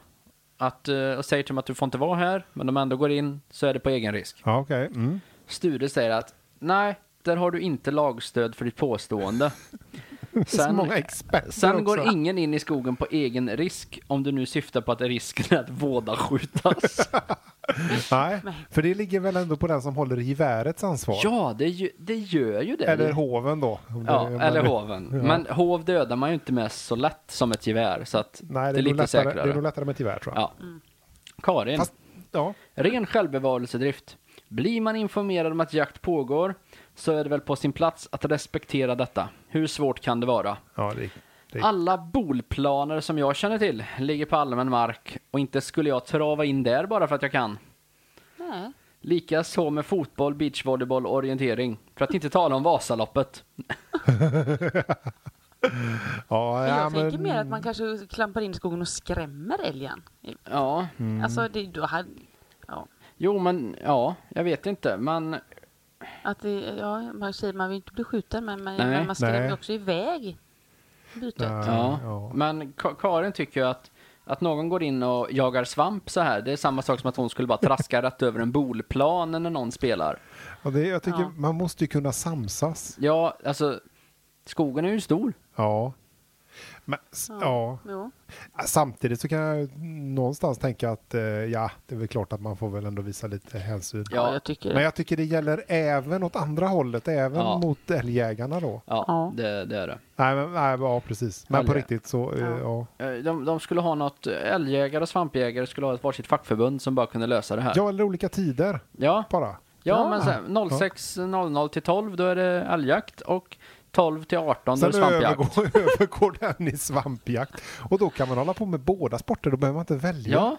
att, eh, och säger till dem att du får inte vara här, men de ändå går in, så är det på egen risk. Ja, okej. Mm. Sture säger att nej, där har du inte lagstöd för ditt påstående. Så Sen, många experter sen går också. ingen in i skogen på egen risk om du nu syftar på att risken är att båda skjutas. Nej, Nej. för det ligger väl ändå på den som håller i givärets ansvar? ja, det, ju- det gör ju det. Eller hoven då. om ja, det- eller men- hoven. Men hov dödar man ju inte med så lätt som ett gevär, så att Nej, det är, det nog är lite lättare, säkrare. Det är nog lättare med ett gevär tror jag. ja. Karin. Fast, ja. Ren självbevarelsedrift. Blir man informerad om att jakt pågår så är det väl på sin plats att respektera detta. Hur svårt kan det vara? ja det, det, Alla bolplaner som jag känner till ligger på allmän mark och inte skulle jag trava in där bara för att jag kan. Nej. Lika så med fotboll, beachvolleyboll och orientering. För att inte tala om Vasaloppet. ja, Men ja, jag tänker men- mer att man kanske klampar in i skogen och skrämmer älgen. Ja, Mm. Alltså, det, du hade, ja, jo men ja, jag vet inte. Men att det, ja, man säger man vill inte bli skjuten men man, Nej. men man skrämmer Nej. också iväg bytet. Nej. Ja, ja. men Ka- Karin tycker ju att, att någon går in och jagar svamp så här, det är samma sak som att hon skulle bara traska rätt över en bolplan när någon spelar. Ja, det, jag tycker Ja. man måste ju kunna samsas. Ja, alltså, skogen är ju stor. Ja. Men, s- ja. Jo. Samtidigt så kan jag någonstans tänka att eh, ja, det är väl klart att man får väl ändå visa lite hänsyn. Ja, Ja. jag tycker Men det. jag tycker det gäller även åt andra hållet, även Ja. mot älgjägarna då. Ja, Ja. Det, det är det. Nej, men, nej, ja precis. Men på Älgjä- riktigt så, eh, Ja. ja. Eh, De, de skulle ha något, älgjägare och svampjägare skulle ha ett varsitt fackförbund som bara kunde lösa det här. Ja, eller olika tider ja. bara. Ja, men sen 06.00 till 12 då är det älgjakt och 12 till 18 då är Sen det svampjakt. övergår, övergår den i svampjakt. Och då kan man hålla på med båda sporter, då behöver man inte välja. Ja,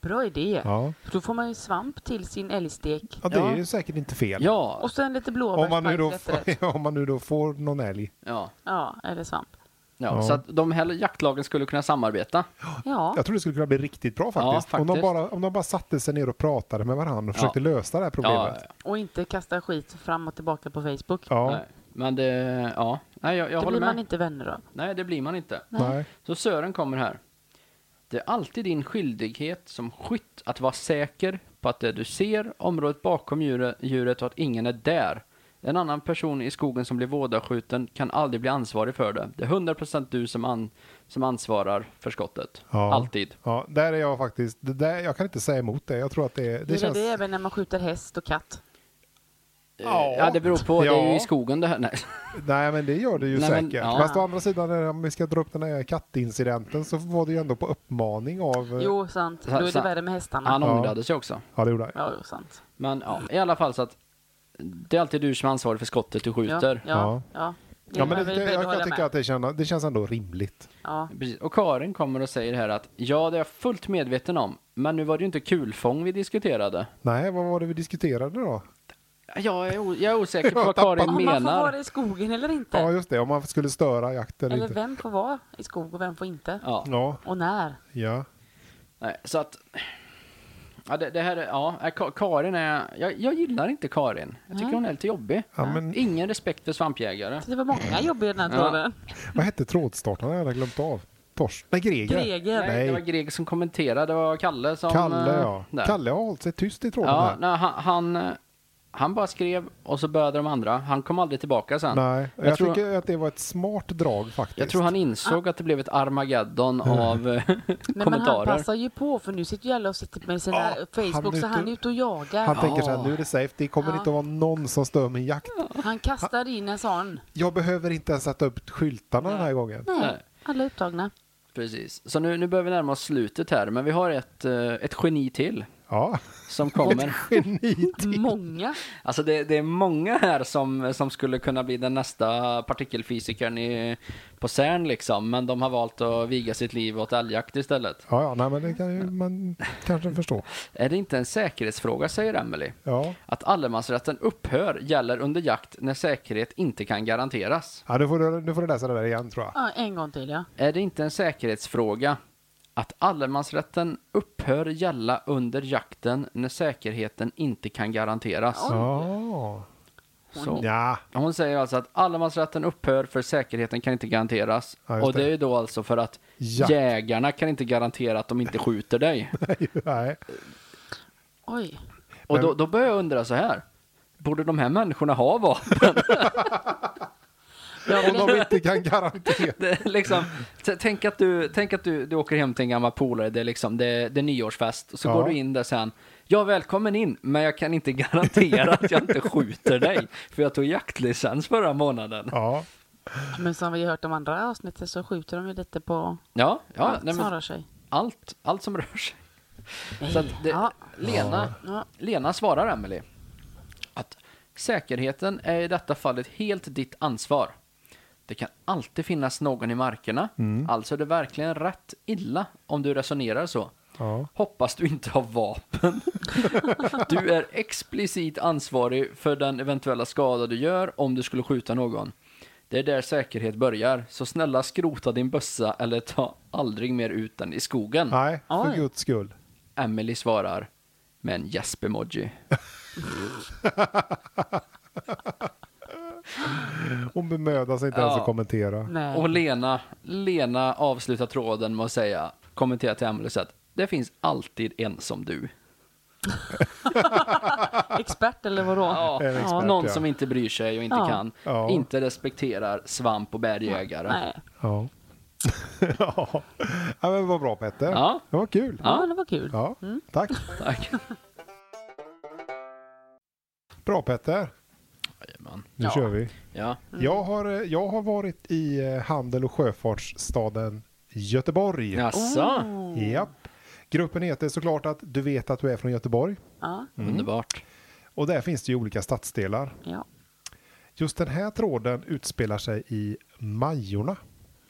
Bra idé. Ja. Då får man ju svamp till sin älgstek. Ja, det Ja. är ju säkert inte fel. ja, Och sen lite Om man, nu blåbärspaj då, till efterrätt. om man nu då får någon älg. ja. Ja, eller svamp. Ja, Ja. så att de här jaktlagen skulle kunna samarbeta. Ja, Jag tror det skulle kunna bli riktigt bra faktiskt. Om, de faktiskt. bara, om de bara satte sig ner och pratade med varandra och Ja. försökte lösa det här Ja, problemet. och inte kasta skit fram och tillbaka på Facebook. Ja, Nej, men det, ja, nej, jag, jag det håller blir med. man inte vänner av. Nej, det blir man inte. Nej. Så Sören kommer här. Det är alltid din skyldighet som skytt att vara säker på att det du ser, området bakom djure- djuret och att ingen är där. En annan person i skogen som blir vådaskjuten kan aldrig bli ansvarig för det. Det är 100% du som, an, som ansvarar för skottet. Ja. Alltid. Ja, där är jag faktiskt, det där, jag kan inte säga emot det. Jag tror att det, det, Det är känns... det även när man skjuter häst och katt. Ja. Eh, ja, det beror på. Det är ju Ja. i skogen det här. Nej. Nej men det gör det ju Nej, men- säkert. ja. Fast å andra sidan när- om vi ska dra upp den här kattincidenten så var det ju ändå på uppmaning av... eh, Jo, sant. Då Så- är så- det värre med hästarna. Han Ja. ångrade sig också. Ja det gjorde jag. Ja, jo, sant. Men ja, i alla fall så att det är alltid du som är ansvarig för skottet du Ja, skjuter. ja, ja. ja. Ja, men det, är väl det, beredd jag, att hålla jag tycker med. att det känns, det känns ändå rimligt. Ja. Precis. Och Karin kommer och säger här att ja, det är jag fullt medveten om, men nu var det ju inte kulfång vi diskuterade. Nej, vad var det vi diskuterade då? Jag är, o- jag är osäker på Jag vad tappade- Karin Om man får vara menar. i skogen eller inte. Ja just det, om man skulle störa jakten eller eller inte. vem får vara i skog och vem får inte. Ja, Ja, Och när. ja. nej, så att... Ja, det, det här är, ja, nej, Ka- Karin är... Jag, jag gillar inte Karin. Jag tycker Nej. hon är lite jobbig. Ja, men- Ingen respekt för svampjägare. Så Alltså, det var många jobb i den här Ja. tråden. Vad hette trådstartaren? Jag hade glömt av. Torsten? Nej, Greger. Greger. Nej, det var Greg som kommenterade, det var Kalle som... Kalle eh, ja. där. Kalle har hållit sig tyst i tråden Ja, här. nej, han, han, eh, han bara skrev och så började de andra. Han kom aldrig tillbaka sen. Nej, jag, Jag tror- tycker att det var ett smart drag faktiskt. Jag tror han insåg att det blev ett Armageddon av eh, Nej, Ah. men han kommentarer. passar ju på för nu sitter ju alla och sitter med sina Ja, han Facebook är så han ute- är ute och jagar. Han Han, tänker så här, nu är det safe, det kommer Ja. inte att vara någon som stör min jakt. kastar in en sån. Jag behöver inte ens sätta upp skyltarna den här gången. Nej, Nej. alla är upptagna. Precis. Så nu, nu börjar vi närma oss slutet här, men vi har ett, eh, ett geni till Ja, som kommer. geni. Många. Alltså det, det är många här som, som skulle kunna bli den nästa partikelfysikern i, på CERN liksom, men de har valt att viga sitt liv åt älgjakt istället. Ja, ja, nej men det kan ju man kanske förstå. Är det inte en säkerhetsfråga, säger Emily. Ja. Att allemansrätten upphör gäller under jakt när säkerhet inte kan garanteras. Ja, nu får du, nu får du läsa det där igen tror jag. Ja, en gång till ja. Är det inte en säkerhetsfråga att allemansrätten upphör gälla under jakten när säkerheten inte kan garanteras? Ja. Så. ja. Hon säger alltså att allemansrätten upphör för säkerheten kan inte garanteras. Ja, just och det det. är ju då alltså för att Jakt. jägarna kan inte garantera att de inte skjuter dig. Nej. Oj. Och Men- då, då börjar jag undra så här. Borde de här människorna ha vapen? Jag Om de vill, inte kan garantera. Det är liksom, t- tänk att, du, tänk att du, du åker hem till en gammal polare, det är, liksom, det, det är nyårsfest, och så Ja. går du in där sen. Ja, välkommen in, men jag kan inte garantera att jag inte skjuter dig, för jag tog jaktlicens förra månaden. Ja. men som vi har hört de andra avsnitten så skjuter de ju lite på Ja, ja allt nej, som men rör sig. allt, allt som rör sig. Så att det, Ja. Lena, Ja. Lena svarar Emily att säkerheten är i detta fallet helt ditt ansvar. Det kan alltid finnas någon i markerna, Mm. alltså är det verkligen rätt illa om du resonerar så. Ja. Hoppas du inte har vapen. Du är explicit ansvarig för den eventuella skada du gör om du skulle skjuta någon. Det är där säkerhet börjar, så snälla skrota din bössa eller ta aldrig mer ut den i skogen. Nej, för Oj. guds skull. Emily svarar med en gäsp-emoji. Hon bemödar sig inte Ja. ens att kommentera. Nej. Och Lena, Lena avslutar tråden med att säga, kommentera till Emily så att det finns alltid en som du. Expert eller vadå? Ja, En expert, någon ja. som inte bryr sig och inte Ja. kan, Ja. inte respekterar svamp och bergjägare. Nej. Ja. ja. ja men vad bra Petter. Ja. Det var kul. Ja. Ja, det var kul. Ja, tack. Tack. Bra Petter. Jajamän. Nu Ja. kör vi. Ja, Jag har, eh, jag har varit i eh, handel och sjöfartsstaden Göteborg. jaså? Oh. Japp. Gruppen heter såklart att du vet att du är från Göteborg. Ja, Underbart. Och där finns det ju olika stadsdelar. ja. Just den här tråden utspelar sig i Majorna.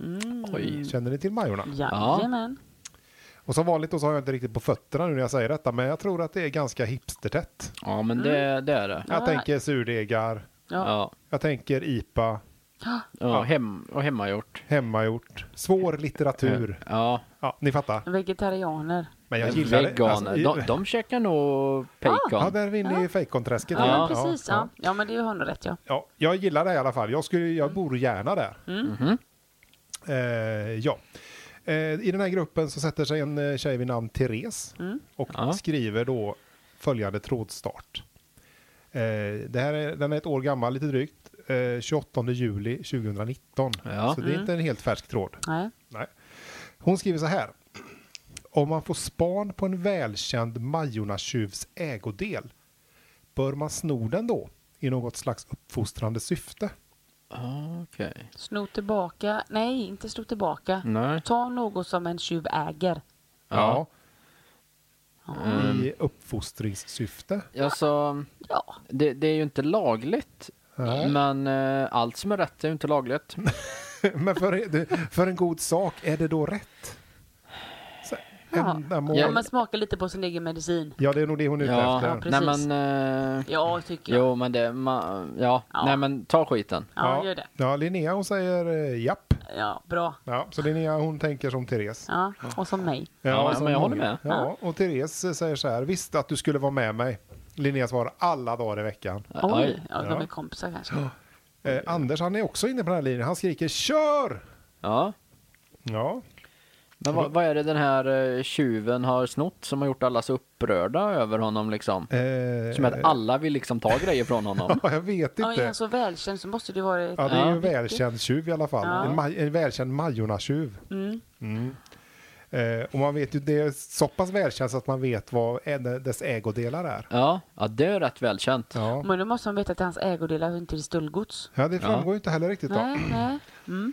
Mm. Oj. Mm. Känner ni till Majorna? Jajamän. Och som vanligt då så har jag inte riktigt på fötterna nu när jag säger detta, men jag tror att det är ganska hipstertätt. Ja, men det, det är det. Jag Ja. tänker surdegar, Ja. Ja. jag tänker IPA, ja. Hem, och hemmagjort. hemmagjort, svår litteratur. Ja. Ja, ni fattar. Vegetarianer. Men jag gillar det. Alltså, Veganer. i- de, de käkar nog ja, bacon. där är vi inne i fejkonträsket. Ja, igen. men precis. Ja. Ja. men det har nog rätt ja. Ja, jag gillar det i alla fall. Jag, skulle, jag bor gärna där. Mm. Mm-hmm. Eh, ja. Eh, I den här gruppen så sätter sig en eh, tjej vid namn Therese Mm. och Ja. skriver då följande trådstart. Eh, det här är, den är ett år gammal, lite drygt. Eh, 28 juli 2019. Ja. Så Mm. det är inte en helt färsk tråd. Nej. Nej. Hon skriver så här. Om man får span på en välkänd Majorna-tjuvs ägodel bör man sno den då i något slags uppfostrande syfte. Ah, Okej. Sno tillbaka. Nej, inte sno tillbaka. Nej. Ta något som en tjuv äger. Ja. I uppfostringssyfte. Alltså, Ja. det, det är ju inte lagligt. Nej. Men eh, allt som är rätt är ju inte lagligt. Men för, för en god sak, är det då rätt? Så, Ja. ändamål. ja, man smakar lite på sin egen medicin. Ja, det är nog det hon är ute Ja, efter. Ja, nej precis. men... Eh, Ja, tycker jag. jo, men det... Ma, ja. Ja. nej men ta skiten. Ja, gör det. ja, Linnea hon säger eh, japp. Ja, bra. Ja, så Linnea hon tänker som Therese. Ja, och som mig. Ja, som men jag håller många. med. Ja, och Therese säger så här, visste att du skulle vara med mig. Linnea svarar alla dagar i veckan. Oj, ja, Ja. de är kompisar kanske. Eh, Anders han är också inne på den här linjen, han skriker kör! Ja. Ja, Men vad, vad är det den här eh, tjuven har snott som har gjort alla så upprörda över honom liksom? eh, Som att alla vill liksom ta grejer från honom. ja jag vet Ja, är inte. han så välkänd så måste det vara ett... Ja, det är ju en riktigt. välkänd tjuv i alla fall. Ja. En, maj- en välkänd Majorna-tjuv. Mm. Mm. Eh, och man vet ju, det är så pass välkänt så att man vet vad ä- dess ägodelar är. Ja, ja det är rätt välkänt. Ja, Men då måste man veta att hans ägodelar hör inte är stöldgods. ja det framgår ju inte heller riktigt. Då. Nej, nej. Mm.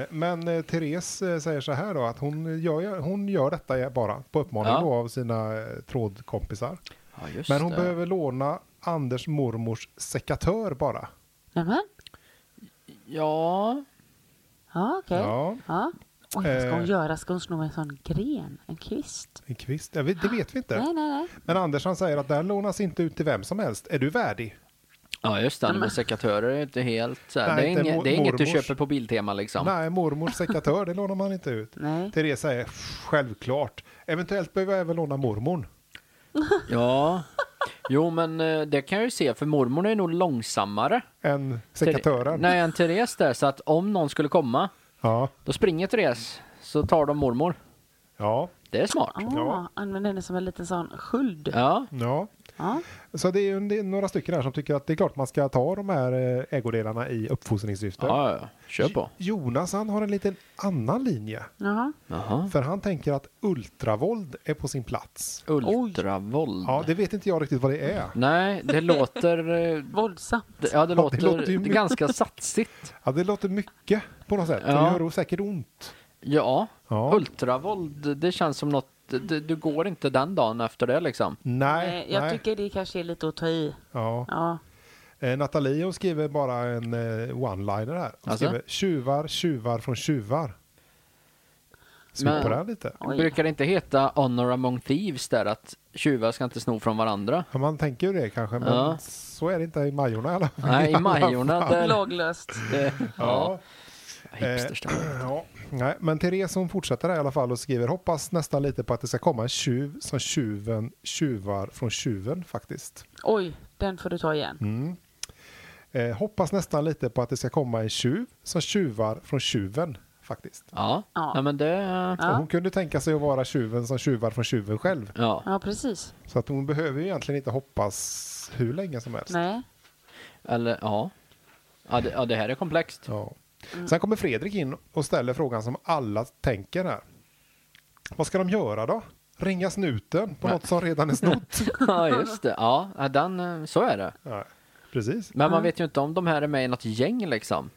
Eh, men eh, Therese eh, säger så här då, att hon gör, hon gör detta bara på uppmaning Ja. då av sina eh, trådkompisar. Ja, just Men hon det. behöver låna Anders mormors sekatör bara. Nämen. Ja, Ja, okej. Ja, Ja. Oj, vad ska hon Eh. göra? Ska hon sno en sån gren? En kvist? en kvist. Jag vet, det vet vi inte. Nej, nej, nej. Men Anders han säger att den lånas inte ut till vem som helst. Är du värdig? ja just det. Men sekatörer är ju inte helt så här. Nej, det, är inte inget, mor- det är inget du mormors. köper på Biltema liksom. Nej, mormors sekatör, det lånar man inte Mm. ut. Nej. Therese säger självklart. Eventuellt behöver jag även låna mormorn. Ja. Jo, men eh, det kan jag ju se för mormor är nog långsammare. Än Ther- sekatören. Nej, än Therese där. Så att om någon skulle komma, Ja. då springer Therese. Så tar de mormor. Ja. Det är smart. Ah, Ja. Använd henne som en liten sån sköld. Ja. ja. Ja. Så det är, ju, det är några stycken här som tycker att det är klart man ska ta de här eh, ägodelarna i uppfostringssyfte. Ja, ja, ja. Kör på. Jo- Jonas han har en liten annan linje. Jaha. Jaha. För han tänker att ultravåld är på sin plats. Ultravåld. Ja, det vet inte jag riktigt vad det är. Nej, det låter... eh, Våldsamt. det- Ja, det låter, låter ju mycket. ganska satsigt. Ja, det låter mycket på något sätt. Ja. Det gör säkert ont. Ja. Ja. Ultravåld, det känns som något... Du, du går inte den dagen efter det liksom. Nej, Nej, Eh, jag nej. tycker det kanske är lite att ta i. Ja. Ja. Eh, Nathalie hon skriver bara en eh, one-liner här. Hon Alltså? skriver tjuvar, tjuvar från tjuvar. Sno Men- på det här lite. Oj. Brukar det inte heta honor among thieves där att tjuvar ska inte sno från varandra? Ja, man tänker ju det kanske, men Ja. så är det inte i Majorna i alla fall. Nej, i Majorna där... Laglöst. Det, ja. Ja. Eh, Hipsterställe. Ja, nej, men Therese hon fortsätter här i alla fall och skriver hoppas nästan lite på att det ska komma en tjuv som tjuven tjuvar från tjuven faktiskt. Oj, den får du ta igen. Mm. Eh, hoppas nästan lite på att det ska komma en tjuv som tjuvar från tjuven faktiskt. Ja. Ja. ja, men det... Och Ja. hon kunde tänka sig att vara tjuven som tjuvar från tjuven själv. Ja. Ja, precis. Så att hon behöver ju egentligen inte hoppas hur länge som helst. Nej. Eller ja. Ja det, ja, det här är komplext. Ja. Sen kommer Fredrik in och ställer frågan som alla tänker här. Vad ska de göra då? Ringa snuten på Nej. något som redan är snott? Ja, just det. Ja, ja, den, eh, så är det. Nej, precis. Men man vet ju inte om de här är med i något gäng liksom.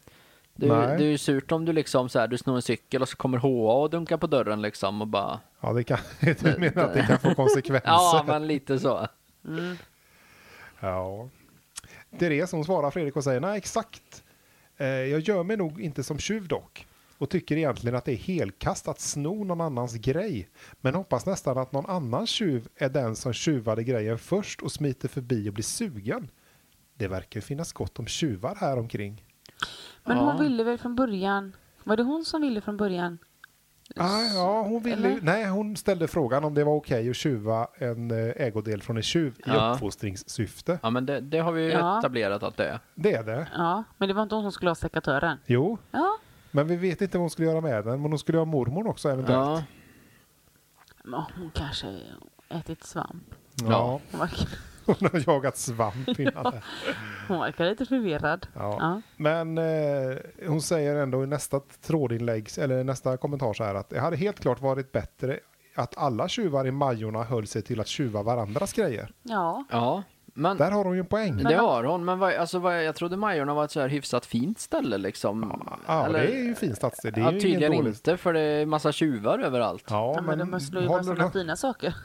Det är, Nej. ju- det är ju surt om du liksom så här, du snor en cykel och så kommer HA och dunkar på dörren liksom och bara... Ja, det kan, du menar att det kan få konsekvenser? Ja, men lite så. Ja. Therese som svarar Fredrik och säger nej exakt. Eh, jag gör mig nog inte som tjuv dock. Och tycker egentligen att det är helkast att sno någon annans grej. Men hoppas nästan att någon annan tjuv är den som tjuvade grejen först och smiter förbi och blir sugen. Det verkar ju finnas gott om tjuvar här omkring. Men Ja. hon ville väl från början... Var det hon som ville från början? Ah, ja, hon ville, ju- Eller? nej, hon ställde frågan om det var okej att tjuva en eh, ägodel från en tjuv i Ja. uppfostringssyfte. Ja, men det, det har vi ju Ja. etablerat att det är. Det är det. Ja, men det var inte hon som skulle ha sekatören. Jo, Ja, men vi vet inte vad hon skulle göra med den. Men hon skulle ha mormor också eventuellt. Ja. men hon kanske ätit svamp. Ja. Hon verkar, Hon har jagat svamp innan det. hon verkar lite förvirrad. Ja. Ja. Men eh, hon säger ändå i nästa trådinlägg, eller nästa kommentar så här att det hade helt klart varit bättre att alla tjuvar i Majorna höll sig till att tjuva varandras grejer. ja. ja. Men Där har hon ju en poäng. det har hon. Men vad, alltså, vad, jag trodde Majorna var ett så här hyfsat fint ställe liksom. Ja, Eller- det är ju fin stadsdel. Det är ja, ju tydligen ingen dålig... inte, för det är massa tjuvar överallt. Ja, Ja, men de slår ju bara håller sådana de, fina saker.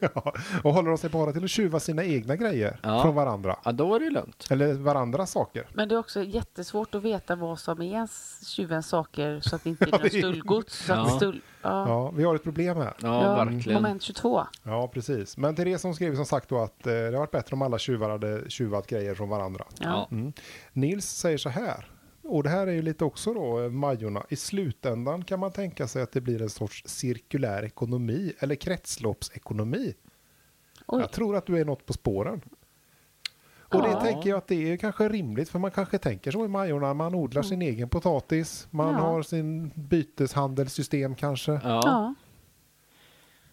ja, och håller de sig bara till att tjuva sina egna grejer Ja. från varandra? Ja, då är det lugnt. Eller varandras saker? Men det är också jättesvårt att veta vad som är ens tjuvens saker så att det inte är något det är- stöldgods. Så att Ja. stöld, ja. Ja, vi har ett problem här. Ja, verkligen. Moment 22. Ja, precis. Men Therese som skrev som sagt då att eh, det hade varit bättre om alla tjuvar hade tjuvat grejer från varandra. Ja. Ja. Mm. Nils säger så här, och det här är ju lite också då eh, Majorna. I slutändan kan man tänka sig att det blir en sorts cirkulär ekonomi eller kretsloppsekonomi. Oj. Jag tror att du är något på spåren. Och Ja. det tänker jag att det är kanske rimligt för man kanske tänker så i Majorna. Man odlar sin egen potatis, man Mm. Ja. har sin byteshandelssystem kanske. Ja. Ja,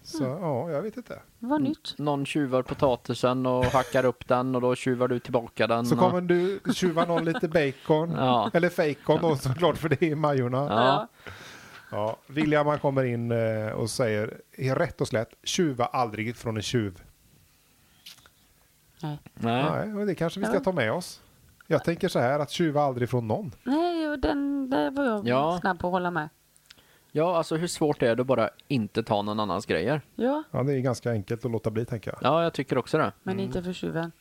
Så ja, jag vet inte. vad nytt. Någon tjuvar potatisen och hackar upp den och då tjuvar du tillbaka den. Så och... kommer du tjuva någon lite bacon, Ja. eller fejkon då såklart för det är Majorna. Ja. Ja, William han kommer in eh, och säger eh, rätt och slätt, tjuva aldrig från en tjuv. Nej. Nej. Nej, och det kanske vi ska Ja. ta med oss. Jag tänker så här, att tjuva aldrig från någon. Nej, och den där var jag Ja. snabb på att hålla med. Ja, alltså hur svårt är det att bara inte ta någon annans grejer? Ja, Ja, det är ganska enkelt att låta bli tänker jag. Ja, jag tycker också det. men Mm. inte för tjuven.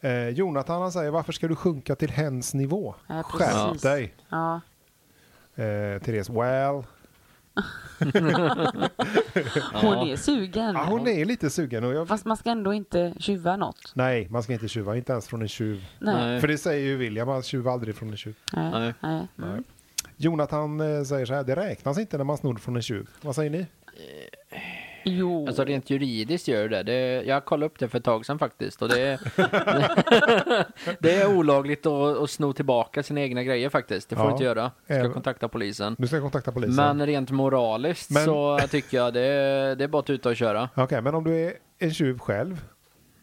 Eh, Jonathan han säger, varför ska du sjunka till hens nivå? Nej, Skärp precis. dig! Ja. Eh, Therese, well. Hon är sugen. Ja, hon är lite sugen. Och jag... Fast man ska ändå inte tjuva något. Nej, man ska inte tjuva, inte ens från en tjuv. Nej. För det säger ju William, man tjuvar aldrig från en tjuv. Nej. Nej. Nej. Nej. Mm. Jonathan eh, säger så här, det räknas inte när man snor från en tjuv. Vad säger ni? Jo. Alltså rent juridiskt gör det det. Jag kollade upp det för ett tag sedan faktiskt. Och det, är, det är olagligt att, att sno tillbaka sina egna grejer faktiskt. Det får Ja. du inte göra. Du ska Även- kontakta polisen. Du ska kontakta polisen. Men rent moraliskt Men- så tycker jag det, är- det är bara att tuta och köra. Okej, men om du är en tjuv själv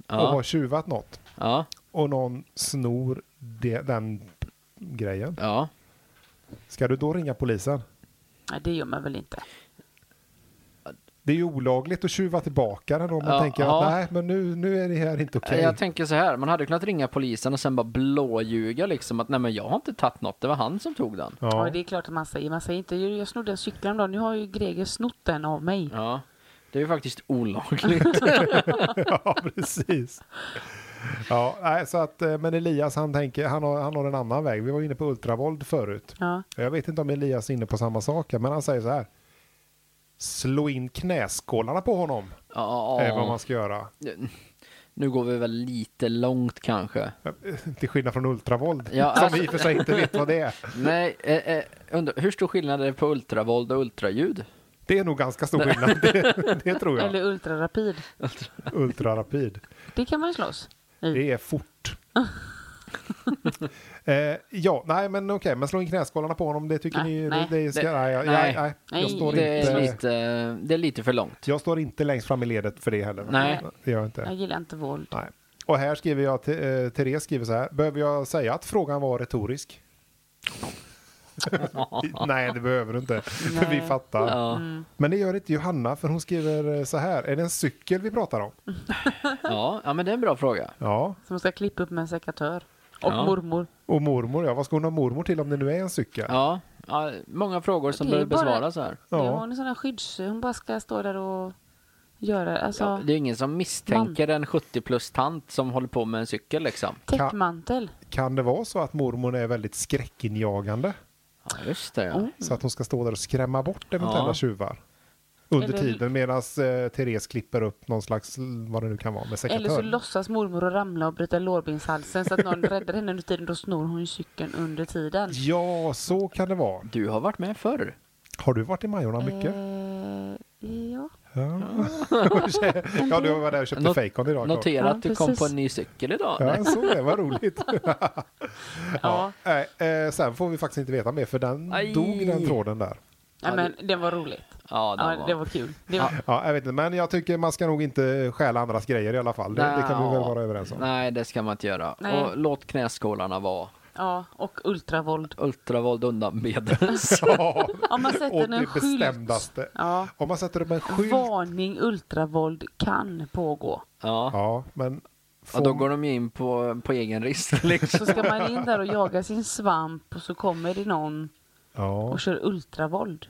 och har Ja, tjuvat något ja, och någon snor det, den grejen. ja. Ska du då ringa polisen? Nej, det gör man väl inte. Det är ju olagligt att tjuva tillbaka den om man Ja, tänker ja. att nej, men nu, nu är det här inte okej. Jag tänker så här, man hade kunnat ringa polisen och sen bara blåljuga liksom att nej men jag har inte tagit något, det var han som tog den. Ja. Ja. det är klart att man säger. Man säger inte jag snodde en cykel om dagen. Nu har ju Greger snott den av mig. Ja, det är ju faktiskt olagligt. ja, precis. Ja, nej, så att, eh, men Elias han, tänker, han, har, han har en annan väg. Vi var inne på ultravold förut. Ja. Jag vet inte om Elias är inne på samma sak, här, men han säger så här. Slå in knäskålarna på honom Ja, är vad man ska göra. Nu går vi väl lite långt kanske. Till skillnad från ultravold, Ja, som alltså- vi i och för sig inte vet vad det är. Nej, eh, eh, undrar, hur stor skillnad är det på ultravåld och ultraljud? Det är nog ganska stor skillnad, det, det tror jag. Eller ultrarapid. Ultrarapid. Det kan man ju slåss. i. Det är fort. eh, ja, nej men okej, men slå in knäskålarna på honom, det tycker Nej, ni? nej, det, det ska, det- nej, jag- nej. jag- nej, jag Nej, står Det är, inte... lite, det är lite för långt. Jag står inte längst fram i ledet för det heller. Nej. Det gör jag inte. Jag gillar inte våld. Nej. Och här skriver jag, till- eh, Therese skriver så här, behöver jag säga att frågan var retorisk? nej, det behöver du inte, för vi Nej. fattar. Ja, Men det gör inte Johanna, för hon skriver eh, så här, är det en cykel vi pratar om? Mm. ja, ja, men det är en bra fråga. Ja, Som ska klippa upp med en sekatör. Och Ja. mormor. och mormor ja, vad ska hon ha mormor till om det nu är en cykel? Ja, ja många frågor som Det är behöver bara- besvaras här. Ja. Ja. Hon är sån här skydds... Hon bara ska stå där och göra alltså, Ja, det är ingen som misstänker en 70 plus tant som håller på med en cykel liksom. täckmantel. Kan det vara så att mormor är väldigt skräckinjagande? Ja, just det ja. Oh. Så att hon ska stå där och skrämma bort eventuella Ja. tjuvar. Under Eller- tiden medan eh, Therese klipper upp någon slags, vad det nu kan vara, med Eller så sekatör. låtsas mormor att ramla och bryta lårbenshalsen så att någon räddar henne under tiden. Då snor hon ju cykeln under tiden. Ja, så kan det vara. Du har varit med förr. Har du varit i Majorna mycket? Eh, ja. Ja. ja, du var där och köpte Not- fejkon idag. Carl. Notera Ja, att du kom precis. på en ny cykel idag. Ja, Nej. jag såg det. Vad roligt. ja. Nej, eh, sen får vi faktiskt inte veta mer för den Aj. dog den tråden där. Nej, men det var roligt. Ja, det Ja, var- det var kul. Det var... Ja, jag vet inte, men jag tycker man ska nog inte stjäla andras grejer i alla fall. Det, det kan vi väl Ja. vara överens om. Nej, det ska man inte göra. Nej. Och låt knäskålarna vara. Ja, och ultravåld. Ultravåld undanbedes. Ja, Om man och sätter det en skylt. bestämdaste. Ja. Om man sätter upp en skylt. Varning ultravåld kan pågå. ja. Ja, men... ja, då går de ju in på, på egen risk liksom. Så ska man in där och jaga sin svamp och så kommer det någon Ja, och kör ultravåld.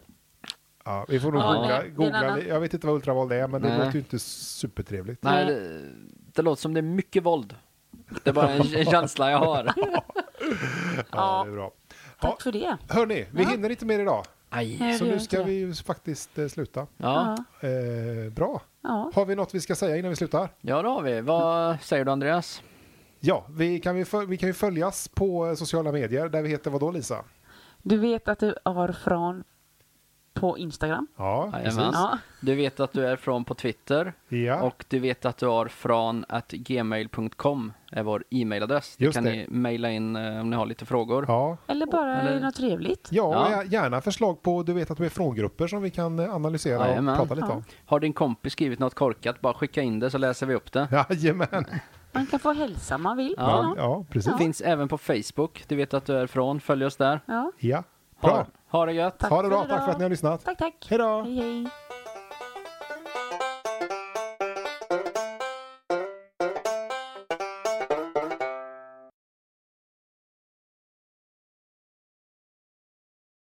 ja, vi får nog Ja, googla. nej, det är en googla. annan- Jag vet inte vad ultravåld är, men det Nej. låter ju inte supertrevligt. Nej, det, det låter som det är mycket våld. Det är bara en, en känsla jag har. Ja, Ja. det är bra. Ja, Tack för det. hörni, vi hinner inte mer idag. Aj. Så det gör nu ska inte vi ju faktiskt eh, sluta. Ja. Ja. Eh, bra. Ja. Har vi något vi ska säga innan vi slutar? ja, det har vi. Vad säger du Andreas? Ja, vi kan ju, föl- vi kan ju följas på eh, sociala medier där vi heter vadå Lisa? Du vet att du har från på Instagram. Ja, precis. Jajamän. Ja. Du vet att du är från på Twitter. Ja. Och du vet att du har från att gmail.com är vår e-mailadress. Det Just kan det. ni mejla in eh, om ni har lite frågor. Ja. Eller bara Eller- något trevligt. Ja, och Ja. gärna förslag på du vet att du är frångrupper som vi kan eh, analysera och Jajamän. prata lite om. Har din kompis skrivit något korkat, bara skicka in det så läser vi upp det. Jajamän. Man kan få hälsa om man vill. Ja. Ja, ja, precis. Det Ja. finns även på Facebook. Du vet att du är från. Följ oss där. Ja. ja. Ha, Bra. ha det gött. Tack Ha det för bra. idag. Tack för att ni har lyssnat. Tack, tack. Hej då. Hej, hej.